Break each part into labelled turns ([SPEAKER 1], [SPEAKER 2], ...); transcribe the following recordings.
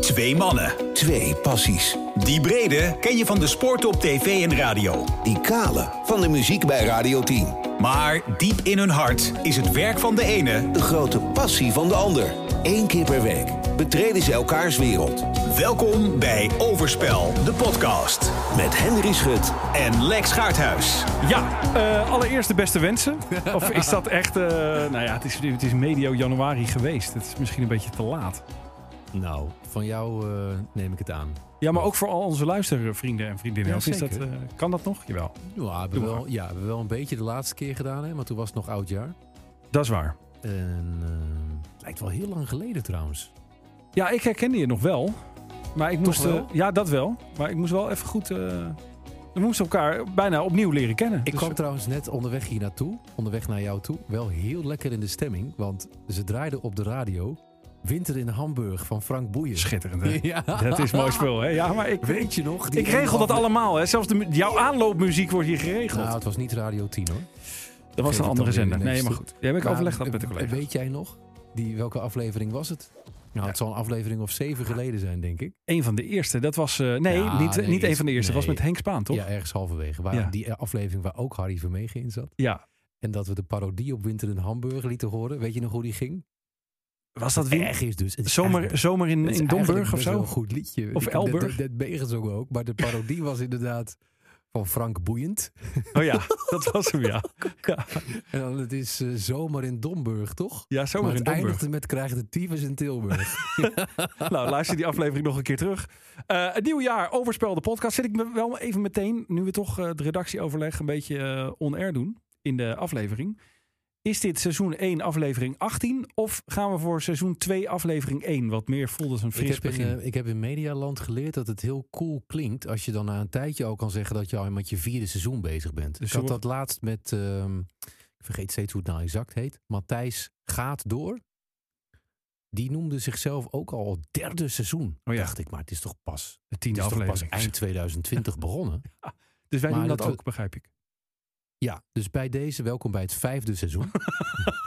[SPEAKER 1] Twee mannen.
[SPEAKER 2] Twee passies.
[SPEAKER 1] Die brede ken je van de sporten op tv en radio.
[SPEAKER 2] Die kale van de muziek bij Radio 10.
[SPEAKER 1] Maar diep in hun hart is het werk van de ene...
[SPEAKER 2] De grote passie van de ander. Eén keer per week betreden ze elkaars wereld.
[SPEAKER 1] Welkom bij Overspel, de podcast.
[SPEAKER 2] Met Henry Schut.
[SPEAKER 1] En Lex Gaardhuis.
[SPEAKER 3] Ja, eh, allereerst de beste wensen. Of is dat echt... eh, nou ja, het is, het is medio januari geweest. Het is misschien een beetje te laat.
[SPEAKER 4] Nou, van jou eh, neem ik het aan.
[SPEAKER 3] Ja, maar ook voor al onze luistervrienden en vriendinnen.
[SPEAKER 4] Ja,
[SPEAKER 3] Of is dat,
[SPEAKER 4] zeker.
[SPEAKER 3] eh, kan dat nog? Jawel.
[SPEAKER 4] Ja, we hebben
[SPEAKER 3] Doe maar.
[SPEAKER 4] wel, ja, we hebben wel een beetje de laatste keer gedaan, hè, maar toen was het nog oudjaar.
[SPEAKER 3] Dat is waar.
[SPEAKER 4] En eh, het lijkt wel heel lang geleden trouwens.
[SPEAKER 3] Ja, ik herkende je nog wel. Maar ik moest... eh,
[SPEAKER 4] wel?
[SPEAKER 3] ja, dat wel. Maar ik moest wel even goed... eh, we moesten elkaar bijna opnieuw leren kennen.
[SPEAKER 4] Ik
[SPEAKER 3] Dus-
[SPEAKER 4] kwam trouwens net onderweg hier naartoe, onderweg naar jou toe, wel heel lekker in de stemming. Want ze draaiden op de radio Winter in Hamburg van Frank Boeien.
[SPEAKER 3] Schitterend, hè?
[SPEAKER 4] Ja.
[SPEAKER 3] Dat is mooi spul, hè? Ja, maar ik...
[SPEAKER 4] Weet je nog? die
[SPEAKER 3] Ik regel
[SPEAKER 4] ene
[SPEAKER 3] dat
[SPEAKER 4] afle-
[SPEAKER 3] allemaal, hè? Zelfs de, jouw aanloopmuziek wordt hier geregeld.
[SPEAKER 4] Nou, het was niet Radio 10 hoor.
[SPEAKER 3] dat was
[SPEAKER 4] geef
[SPEAKER 3] een
[SPEAKER 4] ik
[SPEAKER 3] andere
[SPEAKER 4] dan weer
[SPEAKER 3] zender. Nou, Nee,
[SPEAKER 4] ineens
[SPEAKER 3] maar
[SPEAKER 4] toe.
[SPEAKER 3] goed. Jij heb ik
[SPEAKER 4] Maar,
[SPEAKER 3] overlegd dat
[SPEAKER 4] eh,
[SPEAKER 3] met de collega.
[SPEAKER 4] Weet jij nog? Die, welke aflevering was het? Nou, het zal een aflevering of zeven geleden zijn, denk ik.
[SPEAKER 3] Een van de eerste. Dat was. eh, nee,
[SPEAKER 4] Ja,
[SPEAKER 3] niet,
[SPEAKER 4] nee,
[SPEAKER 3] niet een
[SPEAKER 4] is-
[SPEAKER 3] van de eerste. Dat was
[SPEAKER 4] nee.
[SPEAKER 3] met Henk Spaan, toch?
[SPEAKER 4] Ja, ergens halverwege. Waar
[SPEAKER 3] Ja.
[SPEAKER 4] Die aflevering waar ook Harry Vermegen in zat.
[SPEAKER 3] Ja.
[SPEAKER 4] En dat we de parodie op Winter in Hamburg lieten horen. Weet je nog hoe die ging?
[SPEAKER 3] Was dat
[SPEAKER 4] Wie
[SPEAKER 3] weer?
[SPEAKER 4] erg is dus. Het is
[SPEAKER 3] Zomer,
[SPEAKER 4] eigenlijk-
[SPEAKER 3] zomer in,
[SPEAKER 4] het is
[SPEAKER 3] in Domburg
[SPEAKER 4] eigenlijk
[SPEAKER 3] of
[SPEAKER 4] best wel
[SPEAKER 3] zo?
[SPEAKER 4] Een goed liedje.
[SPEAKER 3] Of
[SPEAKER 4] Ik-
[SPEAKER 3] Elburg?
[SPEAKER 4] Dat, dat meegezongen ook. Maar de parodie was inderdaad van Frank Boeiend.
[SPEAKER 3] Oh ja, dat was hem, ja. Ja,
[SPEAKER 4] En dan het is eh, Zomer in Domburg, toch?
[SPEAKER 3] ja
[SPEAKER 4] maar
[SPEAKER 3] zomer in
[SPEAKER 4] het
[SPEAKER 3] Domburg.
[SPEAKER 4] eindigde met krijgt de tyfus in Tilburg.
[SPEAKER 3] Nou, luister die aflevering nog een keer terug. Eh het nieuwe jaar, Overspel de podcast. Zit ik me wel even meteen, nu we toch eh, het redactieoverleg een beetje eh, on-air doen in de aflevering. Is dit seizoen 1 aflevering 18 of gaan we voor seizoen 2 aflevering 1? Wat meer voelt als een
[SPEAKER 4] ik,
[SPEAKER 3] fris
[SPEAKER 4] heb in,
[SPEAKER 3] begin.
[SPEAKER 4] eh, ik heb in Medialand geleerd dat het heel cool klinkt... als je dan na een tijdje al kan zeggen dat je al met je vierde seizoen bezig bent.
[SPEAKER 3] Dus
[SPEAKER 4] ik had
[SPEAKER 3] zorg-
[SPEAKER 4] dat laatst met... ehm, ik vergeet steeds hoe het nou exact heet. Matthijs Gaat Door. Die noemde zichzelf ook al het derde seizoen.
[SPEAKER 3] Oh ja.
[SPEAKER 4] Dacht ik, maar het is toch pas,
[SPEAKER 3] de
[SPEAKER 4] het
[SPEAKER 3] tiende
[SPEAKER 4] is toch pas
[SPEAKER 3] aflevering.
[SPEAKER 4] eind 2020 begonnen?
[SPEAKER 3] Dus wij
[SPEAKER 4] Maar
[SPEAKER 3] doen dat,
[SPEAKER 4] dat we-
[SPEAKER 3] ook, begrijp ik.
[SPEAKER 4] Ja, dus bij deze welkom bij het vijfde seizoen.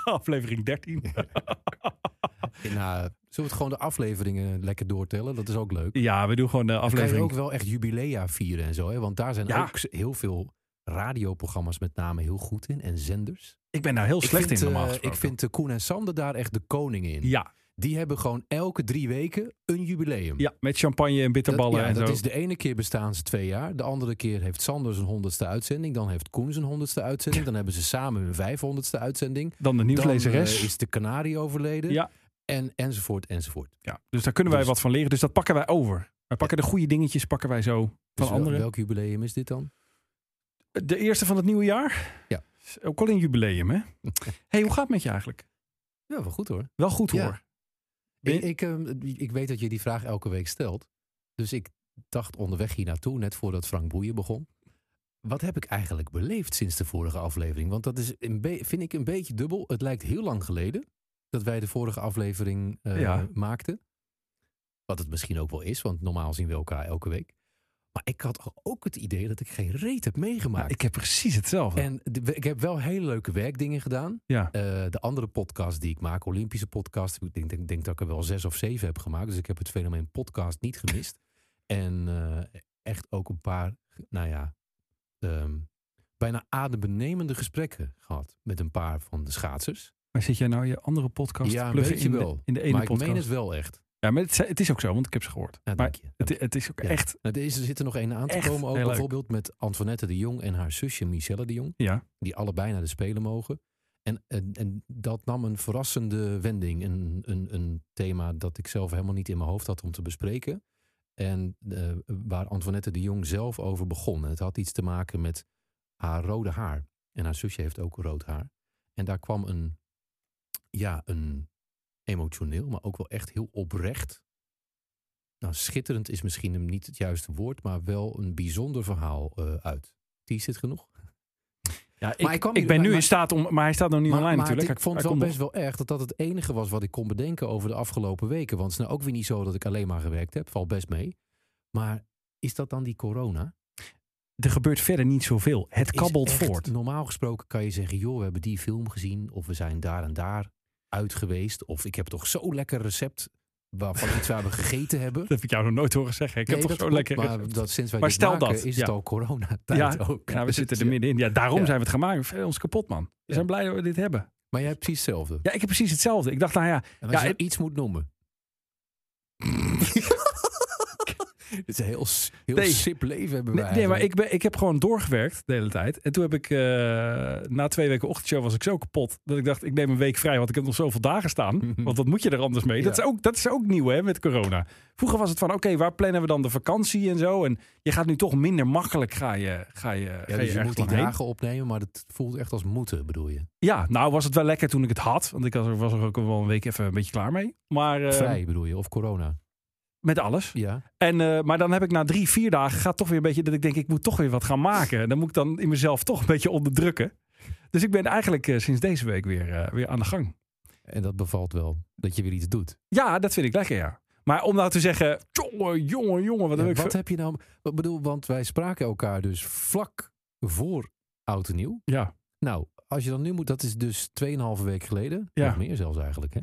[SPEAKER 3] Aflevering 13.
[SPEAKER 4] En, eh, zullen we het gewoon de afleveringen lekker doortellen? Dat is ook leuk.
[SPEAKER 3] Ja, we doen gewoon de
[SPEAKER 4] Kan je
[SPEAKER 3] aflevering.
[SPEAKER 4] ook wel echt jubilea vieren en zo. Hè? Want daar zijn
[SPEAKER 3] Ja.
[SPEAKER 4] ook heel veel radioprogramma's met name heel goed in. En zenders.
[SPEAKER 3] Ik ben daar heel slecht
[SPEAKER 4] vind,
[SPEAKER 3] in normaal
[SPEAKER 4] eh,
[SPEAKER 3] gesproken.
[SPEAKER 4] ik vind eh, Koen en Sander daar echt de koningen in.
[SPEAKER 3] ja,
[SPEAKER 4] Die hebben gewoon elke drie weken een jubileum.
[SPEAKER 3] ja, met champagne en
[SPEAKER 4] Dat,
[SPEAKER 3] bitterballen
[SPEAKER 4] ja,
[SPEAKER 3] en zo.
[SPEAKER 4] dat is de ene keer bestaan ze twee jaar. De andere keer heeft Sander zijn honderdste uitzending. Dan heeft Koen zijn honderdste uitzending. Dan hebben ze samen hun vijfhonderdste uitzending.
[SPEAKER 3] Dan de
[SPEAKER 4] Dan
[SPEAKER 3] nieuwslezeres.
[SPEAKER 4] eh, is de Canarie overleden.
[SPEAKER 3] Ja.
[SPEAKER 4] En, enzovoort, enzovoort.
[SPEAKER 3] ja, dus daar kunnen wij
[SPEAKER 4] dus-
[SPEAKER 3] wat van leren. Dus dat pakken wij over. Wij pakken de goede dingetjes pakken wij zo van
[SPEAKER 4] Dus wel-
[SPEAKER 3] anderen.
[SPEAKER 4] welk jubileum is dit dan?
[SPEAKER 3] De eerste van het nieuwe jaar.
[SPEAKER 4] Ja.
[SPEAKER 3] Is Ook al in jubileum, hè? hey, hoe gaat het met je eigenlijk?
[SPEAKER 4] Ja, wel goed hoor.
[SPEAKER 3] Wel goed hoor.
[SPEAKER 4] Ja.
[SPEAKER 3] Ben je-
[SPEAKER 4] Ik, ik, ehm, ik weet dat je die vraag elke week stelt. Dus ik dacht onderweg hier naartoe, net voordat Frank Boeien begon. Wat heb ik eigenlijk beleefd sinds de vorige aflevering? Want dat is een be- vind ik een beetje dubbel. Het lijkt heel lang geleden dat wij de vorige aflevering eh,
[SPEAKER 3] Ja.
[SPEAKER 4] maakten. Wat het misschien ook wel is, want normaal zien we elkaar elke week. Maar ik had ook het idee dat ik geen reet heb
[SPEAKER 3] Nou,
[SPEAKER 4] meegemaakt.
[SPEAKER 3] ik heb precies hetzelfde.
[SPEAKER 4] En de- we- ik heb wel hele leuke werkdingen gedaan.
[SPEAKER 3] Ja.
[SPEAKER 4] Eh, de andere podcast die ik maak, Olympische podcast. Ik denk, denk, denk dat ik er wel zes of zeven heb gemaakt. Dus ik heb het fenomeen podcast niet gemist. en eh, echt ook een paar, nou ja, ehm, bijna adembenemende gesprekken gehad. Met een paar van de schaatsers.
[SPEAKER 3] Maar zit jij nou je andere podcast
[SPEAKER 4] Ja,
[SPEAKER 3] te
[SPEAKER 4] een
[SPEAKER 3] pluggen
[SPEAKER 4] beetje
[SPEAKER 3] in, De,
[SPEAKER 4] wel.
[SPEAKER 3] in de ene
[SPEAKER 4] maar ik
[SPEAKER 3] podcast?
[SPEAKER 4] meen het wel echt.
[SPEAKER 3] Ja, maar het, het is ook zo, want ik heb ze gehoord.
[SPEAKER 4] Ja,
[SPEAKER 3] maar
[SPEAKER 4] dank je.
[SPEAKER 3] het, het is ook
[SPEAKER 4] Ja.
[SPEAKER 3] echt...
[SPEAKER 4] Nou, deze zit er nog een aan te
[SPEAKER 3] Echt
[SPEAKER 4] komen. Ook
[SPEAKER 3] heel leuk.
[SPEAKER 4] bijvoorbeeld met Antoinette de Jong en haar zusje Michelle de Jong.
[SPEAKER 3] Ja.
[SPEAKER 4] Die allebei naar de Spelen mogen. En, en, en dat nam een verrassende wending. Een, een, een thema dat ik zelf helemaal niet in mijn hoofd had om te bespreken. En eh, waar Antoinette de Jong zelf over begon. En het had iets te maken met haar rode haar. En haar zusje heeft ook rood haar. En daar kwam een, ja, een emotioneel, maar ook wel echt heel oprecht. Nou, schitterend is misschien niet het juiste woord, maar wel een bijzonder verhaal eh, uit. Die is het genoeg?
[SPEAKER 3] Ja, ik,
[SPEAKER 4] Maar
[SPEAKER 3] ik,
[SPEAKER 4] ik kwam hier-
[SPEAKER 3] ben nu
[SPEAKER 4] maar-
[SPEAKER 3] in staat om... Maar hij staat nog niet online natuurlijk.
[SPEAKER 4] het-
[SPEAKER 3] Hij-
[SPEAKER 4] ik vond het
[SPEAKER 3] hij
[SPEAKER 4] wel
[SPEAKER 3] komt
[SPEAKER 4] best wel erg dat dat het enige was wat ik kon bedenken over de afgelopen weken. Want het is nou ook weer niet zo dat ik alleen maar gewerkt heb. Valt best mee. Maar is dat dan die corona?
[SPEAKER 3] nog. Er gebeurt verder niet zoveel. Het
[SPEAKER 4] Is
[SPEAKER 3] kabbelt
[SPEAKER 4] echt-
[SPEAKER 3] voort.
[SPEAKER 4] Normaal gesproken kan je zeggen, joh, we hebben die film gezien. Of we zijn daar en daar uit geweest. Of ik heb toch zo lekker recept waarvan iets we hebben gegeten hebben.
[SPEAKER 3] Dat heb ik jou nog nooit horen zeggen. Ik
[SPEAKER 4] Nee,
[SPEAKER 3] heb toch
[SPEAKER 4] dat
[SPEAKER 3] zo
[SPEAKER 4] klopt,
[SPEAKER 3] lekker...
[SPEAKER 4] Maar dat, sinds wij
[SPEAKER 3] Maar
[SPEAKER 4] dit
[SPEAKER 3] stel
[SPEAKER 4] maken,
[SPEAKER 3] dat,
[SPEAKER 4] is
[SPEAKER 3] ja.
[SPEAKER 4] het al coronatijd
[SPEAKER 3] Ja,
[SPEAKER 4] ook. Dus
[SPEAKER 3] Ja, Nou, we zitten er
[SPEAKER 4] Ja.
[SPEAKER 3] middenin. Ja, daarom
[SPEAKER 4] Ja.
[SPEAKER 3] zijn we het gaan maken. Vervel ons kapot, man. We
[SPEAKER 4] Ja.
[SPEAKER 3] zijn blij dat we dit hebben.
[SPEAKER 4] Maar jij hebt precies hetzelfde.
[SPEAKER 3] Ja, ik heb precies hetzelfde. Ik dacht, nou ja,
[SPEAKER 4] En als
[SPEAKER 3] Ja,
[SPEAKER 4] je
[SPEAKER 3] het-
[SPEAKER 4] iets moet noemen. Dit is een heel, s- heel
[SPEAKER 3] Nee.
[SPEAKER 4] sip leven hebben wij.
[SPEAKER 3] nee, nee, maar
[SPEAKER 4] eigenlijk.
[SPEAKER 3] ik, ben, ik heb gewoon doorgewerkt de hele tijd. En toen heb ik, eh, na twee weken ochtendshow was ik zo kapot, dat ik dacht, ik neem een week vrij, want ik heb nog zoveel dagen staan.
[SPEAKER 4] Mhm.
[SPEAKER 3] Want wat moet je er anders mee? Dat,
[SPEAKER 4] Ja.
[SPEAKER 3] is ook, dat is ook nieuw, hè, met corona. Vroeger was het van, oké, waar plannen we dan de vakantie en zo? En je gaat nu toch minder makkelijk, ga je, ga je, ga
[SPEAKER 4] Ja, dus je
[SPEAKER 3] ergens
[SPEAKER 4] moet die
[SPEAKER 3] lang heen.
[SPEAKER 4] dagen opnemen, maar het voelt echt als moeten, bedoel je.
[SPEAKER 3] Ja, nou was het wel lekker toen ik het had. Want ik was er, was er ook wel een week even een beetje klaar mee. Maar eh,
[SPEAKER 4] Vrij bedoel je, of corona.
[SPEAKER 3] met alles.
[SPEAKER 4] Ja,
[SPEAKER 3] En, eh, maar dan heb ik na drie, vier dagen gaat toch weer een beetje dat ik denk, ik moet toch weer wat gaan maken. En dan moet ik dan in mezelf toch een beetje onderdrukken. Dus ik ben eigenlijk eh, sinds deze week weer, eh, weer aan de gang.
[SPEAKER 4] en dat bevalt wel. Dat je weer iets doet.
[SPEAKER 3] Ja, dat vind ik lekker, ja. Maar om nou te zeggen, jongen, jongen, jongen, wat
[SPEAKER 4] Ja,
[SPEAKER 3] heb ik...
[SPEAKER 4] wat
[SPEAKER 3] ver-
[SPEAKER 4] heb je nou... Ik bedoel, want wij spraken elkaar dus vlak voor Oud en Nieuw.
[SPEAKER 3] Ja,
[SPEAKER 4] Nou, als je dan nu moet... Dat is dus 2,5 week geleden.
[SPEAKER 3] Ja.
[SPEAKER 4] Nog meer zelfs eigenlijk, hè?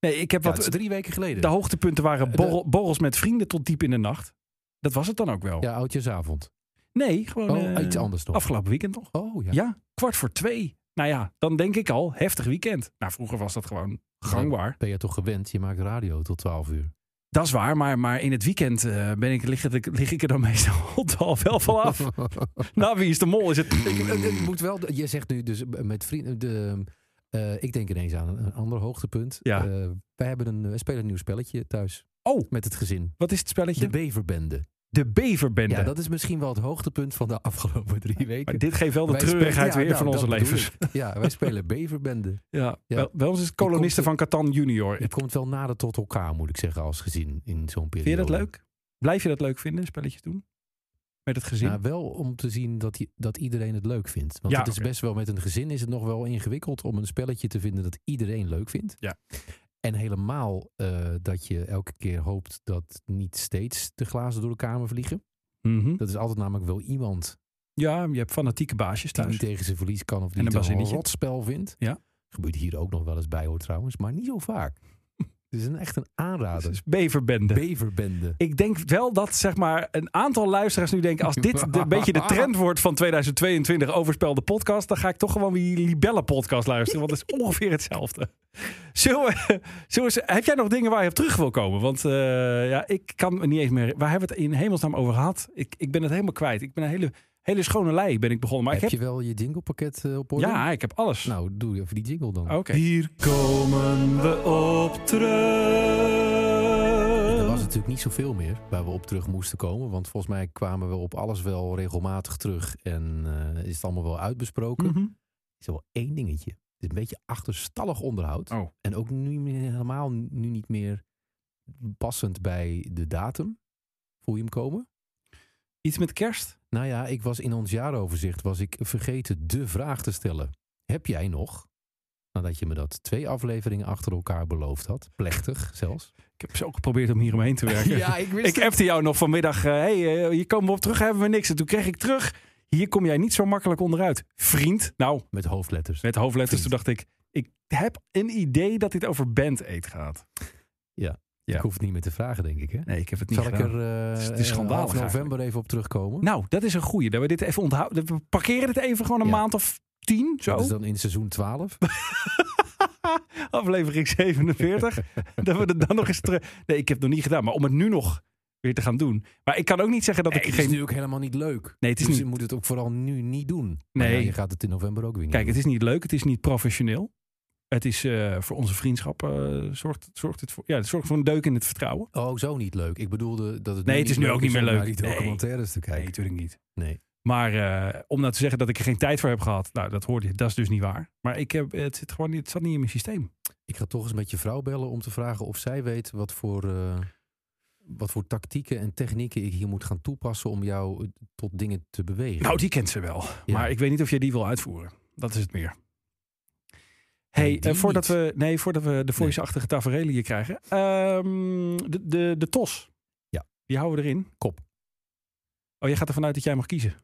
[SPEAKER 3] nee, ik heb
[SPEAKER 4] Ja,
[SPEAKER 3] wat...
[SPEAKER 4] het is drie weken geleden.
[SPEAKER 3] de hoogtepunten waren
[SPEAKER 4] de-
[SPEAKER 3] borrel- borrels met vrienden tot diep in de nacht. Dat was het dan ook wel.
[SPEAKER 4] Ja, oudjesavond.
[SPEAKER 3] Nee, gewoon...
[SPEAKER 4] Oh,
[SPEAKER 3] eh,
[SPEAKER 4] iets anders nog.
[SPEAKER 3] Afgelopen weekend nog.
[SPEAKER 4] Oh ja.
[SPEAKER 3] Ja. kwart voor twee. Nou ja, dan denk ik al, heftig weekend. Nou, vroeger was dat gewoon gangbaar.
[SPEAKER 4] Ben je toch gewend? Je maakt radio tot 12 uur.
[SPEAKER 3] Dat is waar, maar, maar in het weekend eh, ben ik, lig, het- lig ik er dan meestal al wel vanaf. Na wie is de mol? Is het...
[SPEAKER 4] Het eh, moet wel, je zegt nu dus met vrienden. De, eh, ik denk ineens aan een ander hoogtepunt.
[SPEAKER 3] Ja.
[SPEAKER 4] Eh, wij hebben een, we spelen een nieuw spelletje thuis
[SPEAKER 3] Oh,
[SPEAKER 4] met het gezin.
[SPEAKER 3] wat is het spelletje?
[SPEAKER 4] De
[SPEAKER 3] De,
[SPEAKER 4] Beverbende.
[SPEAKER 3] beverbende.
[SPEAKER 4] Ja, dat is misschien wel het hoogtepunt van de afgelopen drie weken.
[SPEAKER 3] Maar dit geeft wel de
[SPEAKER 4] Wij
[SPEAKER 3] treurigheid
[SPEAKER 4] spelen-
[SPEAKER 3] weer
[SPEAKER 4] ja,
[SPEAKER 3] van
[SPEAKER 4] nou,
[SPEAKER 3] onze
[SPEAKER 4] dat bedoel
[SPEAKER 3] levens.
[SPEAKER 4] ik. Ja, wij spelen Beverbende.
[SPEAKER 3] Ja,
[SPEAKER 4] Ja.
[SPEAKER 3] Wel, wel eens is het kolonisten van Catan junior.
[SPEAKER 4] Het
[SPEAKER 3] Vind
[SPEAKER 4] komt wel nader tot elkaar, moet ik zeggen, als gezin in zo'n periode.
[SPEAKER 3] je dat leuk? Blijf je dat leuk vinden, spelletjes doen? Met het gezin?
[SPEAKER 4] Nou, wel om te zien dat, i- dat iedereen het leuk vindt. Want
[SPEAKER 3] Ja,
[SPEAKER 4] het is
[SPEAKER 3] oké.
[SPEAKER 4] best wel met een gezin is het nog wel ingewikkeld om een spelletje te vinden dat iedereen leuk vindt.
[SPEAKER 3] Ja.
[SPEAKER 4] En helemaal eh, dat je elke keer hoopt dat niet steeds de glazen door de kamer vliegen.
[SPEAKER 3] Mhm.
[SPEAKER 4] Dat is altijd namelijk wel iemand
[SPEAKER 3] Ja, je hebt fanatieke baasjes
[SPEAKER 4] die
[SPEAKER 3] thuis.
[SPEAKER 4] niet tegen zijn verlies kan of
[SPEAKER 3] En
[SPEAKER 4] die
[SPEAKER 3] een
[SPEAKER 4] het een
[SPEAKER 3] bazinnetje.
[SPEAKER 4] rotspel vindt.
[SPEAKER 3] Ja.
[SPEAKER 4] Gebeurt hier ook nog wel eens bij hoor trouwens, maar niet zo vaak. Het is een, echt een aanrader.
[SPEAKER 3] Dus beverbende.
[SPEAKER 4] Beverbende.
[SPEAKER 3] Ik denk wel dat zeg maar, een aantal luisteraars nu denken... als dit de- een beetje de trend wordt van 2022 overspel de podcast... dan ga ik toch gewoon weer die Libelle podcast luisteren. Want dat is ongeveer hetzelfde. Zullen we- zullen we- heb jij nog dingen waar je op terug wil komen? Want eh, ja, ik kan me niet eens meer... Waar hebben we het in hemelsnaam over gehad? Ik, ik ben het helemaal kwijt. Ik ben een hele, hele schone lei ben ik begonnen. Maar
[SPEAKER 4] heb,
[SPEAKER 3] ik
[SPEAKER 4] je
[SPEAKER 3] heb,
[SPEAKER 4] wel je jinglepakket eh, op orde?
[SPEAKER 3] ja, ik heb alles. Ah,
[SPEAKER 4] Nou, doe even die jingle dan.
[SPEAKER 3] Oké. Hier komen we op
[SPEAKER 4] Er was
[SPEAKER 3] terug.
[SPEAKER 4] natuurlijk niet zoveel meer waar we op terug moesten komen. Want volgens mij kwamen we op alles wel regelmatig terug. En eh, is het allemaal wel uitbesproken.
[SPEAKER 3] Mhm.
[SPEAKER 4] Is er wel één dingetje. Het is een beetje achterstallig onderhoud.
[SPEAKER 3] Oh.
[SPEAKER 4] En ook nu meer- helemaal nu niet meer passend bij de datum. Voel je hem komen?
[SPEAKER 3] Iets met kerst?
[SPEAKER 4] Nou ja, ik was in ons jaaroverzicht was ik vergeten de vraag te stellen. Heb jij nog, nadat je me dat twee afleveringen achter elkaar beloofd had, plechtig zelfs.
[SPEAKER 3] Ik heb zo geprobeerd om hier omheen te werken.
[SPEAKER 4] ik
[SPEAKER 3] Ik appte jou nog vanmiddag. eh, hey, eh, hier komen we op terug, hebben we niks. En toen kreeg ik terug. Hier kom jij niet zo makkelijk onderuit. Vriend. Nou,
[SPEAKER 4] Met hoofdletters.
[SPEAKER 3] met hoofdletters. Toen
[SPEAKER 4] Vriend.
[SPEAKER 3] dacht ik, ik heb een idee dat dit over band eet gaat. Ja.
[SPEAKER 4] Ik hoef het niet meer te vragen, denk ik. Hè?
[SPEAKER 3] Nee, ik heb het niet
[SPEAKER 4] Zal ik er
[SPEAKER 3] Het
[SPEAKER 4] eh,
[SPEAKER 3] is- het is
[SPEAKER 4] eh,
[SPEAKER 3] schandalig
[SPEAKER 4] half november
[SPEAKER 3] eigenlijk.
[SPEAKER 4] even op terugkomen?
[SPEAKER 3] Nou, dat is een goeie. Dat we dit even onthouden. We parkeren dit even gewoon een
[SPEAKER 4] Ja.
[SPEAKER 3] maand of tien. Zo.
[SPEAKER 4] Dat is dan in seizoen 12.
[SPEAKER 3] Aflevering 47. dat we het dan nog eens terug... Nee, ik heb het nog niet gedaan. Maar om het nu nog weer te gaan doen. Maar ik kan ook niet zeggen dat
[SPEAKER 4] Nee,
[SPEAKER 3] ik
[SPEAKER 4] Het is
[SPEAKER 3] geen...
[SPEAKER 4] nu ook helemaal niet leuk.
[SPEAKER 3] Nee, het is
[SPEAKER 4] dus
[SPEAKER 3] niet-
[SPEAKER 4] je moet het ook vooral nu niet doen. Maar
[SPEAKER 3] Nee.
[SPEAKER 4] ja, je gaat het in november ook weer niet
[SPEAKER 3] Kijk,
[SPEAKER 4] doen.
[SPEAKER 3] het is niet leuk, het is niet professioneel. Het is eh, voor onze vriendschap eh, zorgt, zorgt het voor, ja, het zorgt voor een deuk in het vertrouwen.
[SPEAKER 4] Oh, zo niet leuk. Ik bedoelde dat het
[SPEAKER 3] Nee, het is nu
[SPEAKER 4] leuk
[SPEAKER 3] ook niet meer
[SPEAKER 4] om
[SPEAKER 3] leuk.
[SPEAKER 4] naar die
[SPEAKER 3] Nee.
[SPEAKER 4] documentaires te kijken.
[SPEAKER 3] natuurlijk niet.
[SPEAKER 4] Nee.
[SPEAKER 3] Maar eh, om nou te zeggen dat ik er geen tijd voor heb gehad, nou, dat hoorde je, dat is dus niet waar. Maar ik heb, het, zit gewoon niet, het zat niet in mijn systeem.
[SPEAKER 4] Ik ga toch eens met je vrouw bellen om te vragen of zij weet wat voor, eh, wat voor tactieken en technieken ik hier moet gaan toepassen om jou eh, tot dingen te bewegen.
[SPEAKER 3] Nou, die kent ze wel.
[SPEAKER 4] Ja.
[SPEAKER 3] Maar ik weet niet of jij die wil uitvoeren. Dat is het meer.
[SPEAKER 4] Nee,
[SPEAKER 3] hey,
[SPEAKER 4] die
[SPEAKER 3] eh, voordat,
[SPEAKER 4] niet.
[SPEAKER 3] we, nee, voordat we de voice-achtige taferelen hier krijgen. ehm, de, de, de tos.
[SPEAKER 4] Ja.
[SPEAKER 3] Die houden we erin.
[SPEAKER 4] Kop.
[SPEAKER 3] Oh, jij gaat ervan uit dat jij mag kiezen.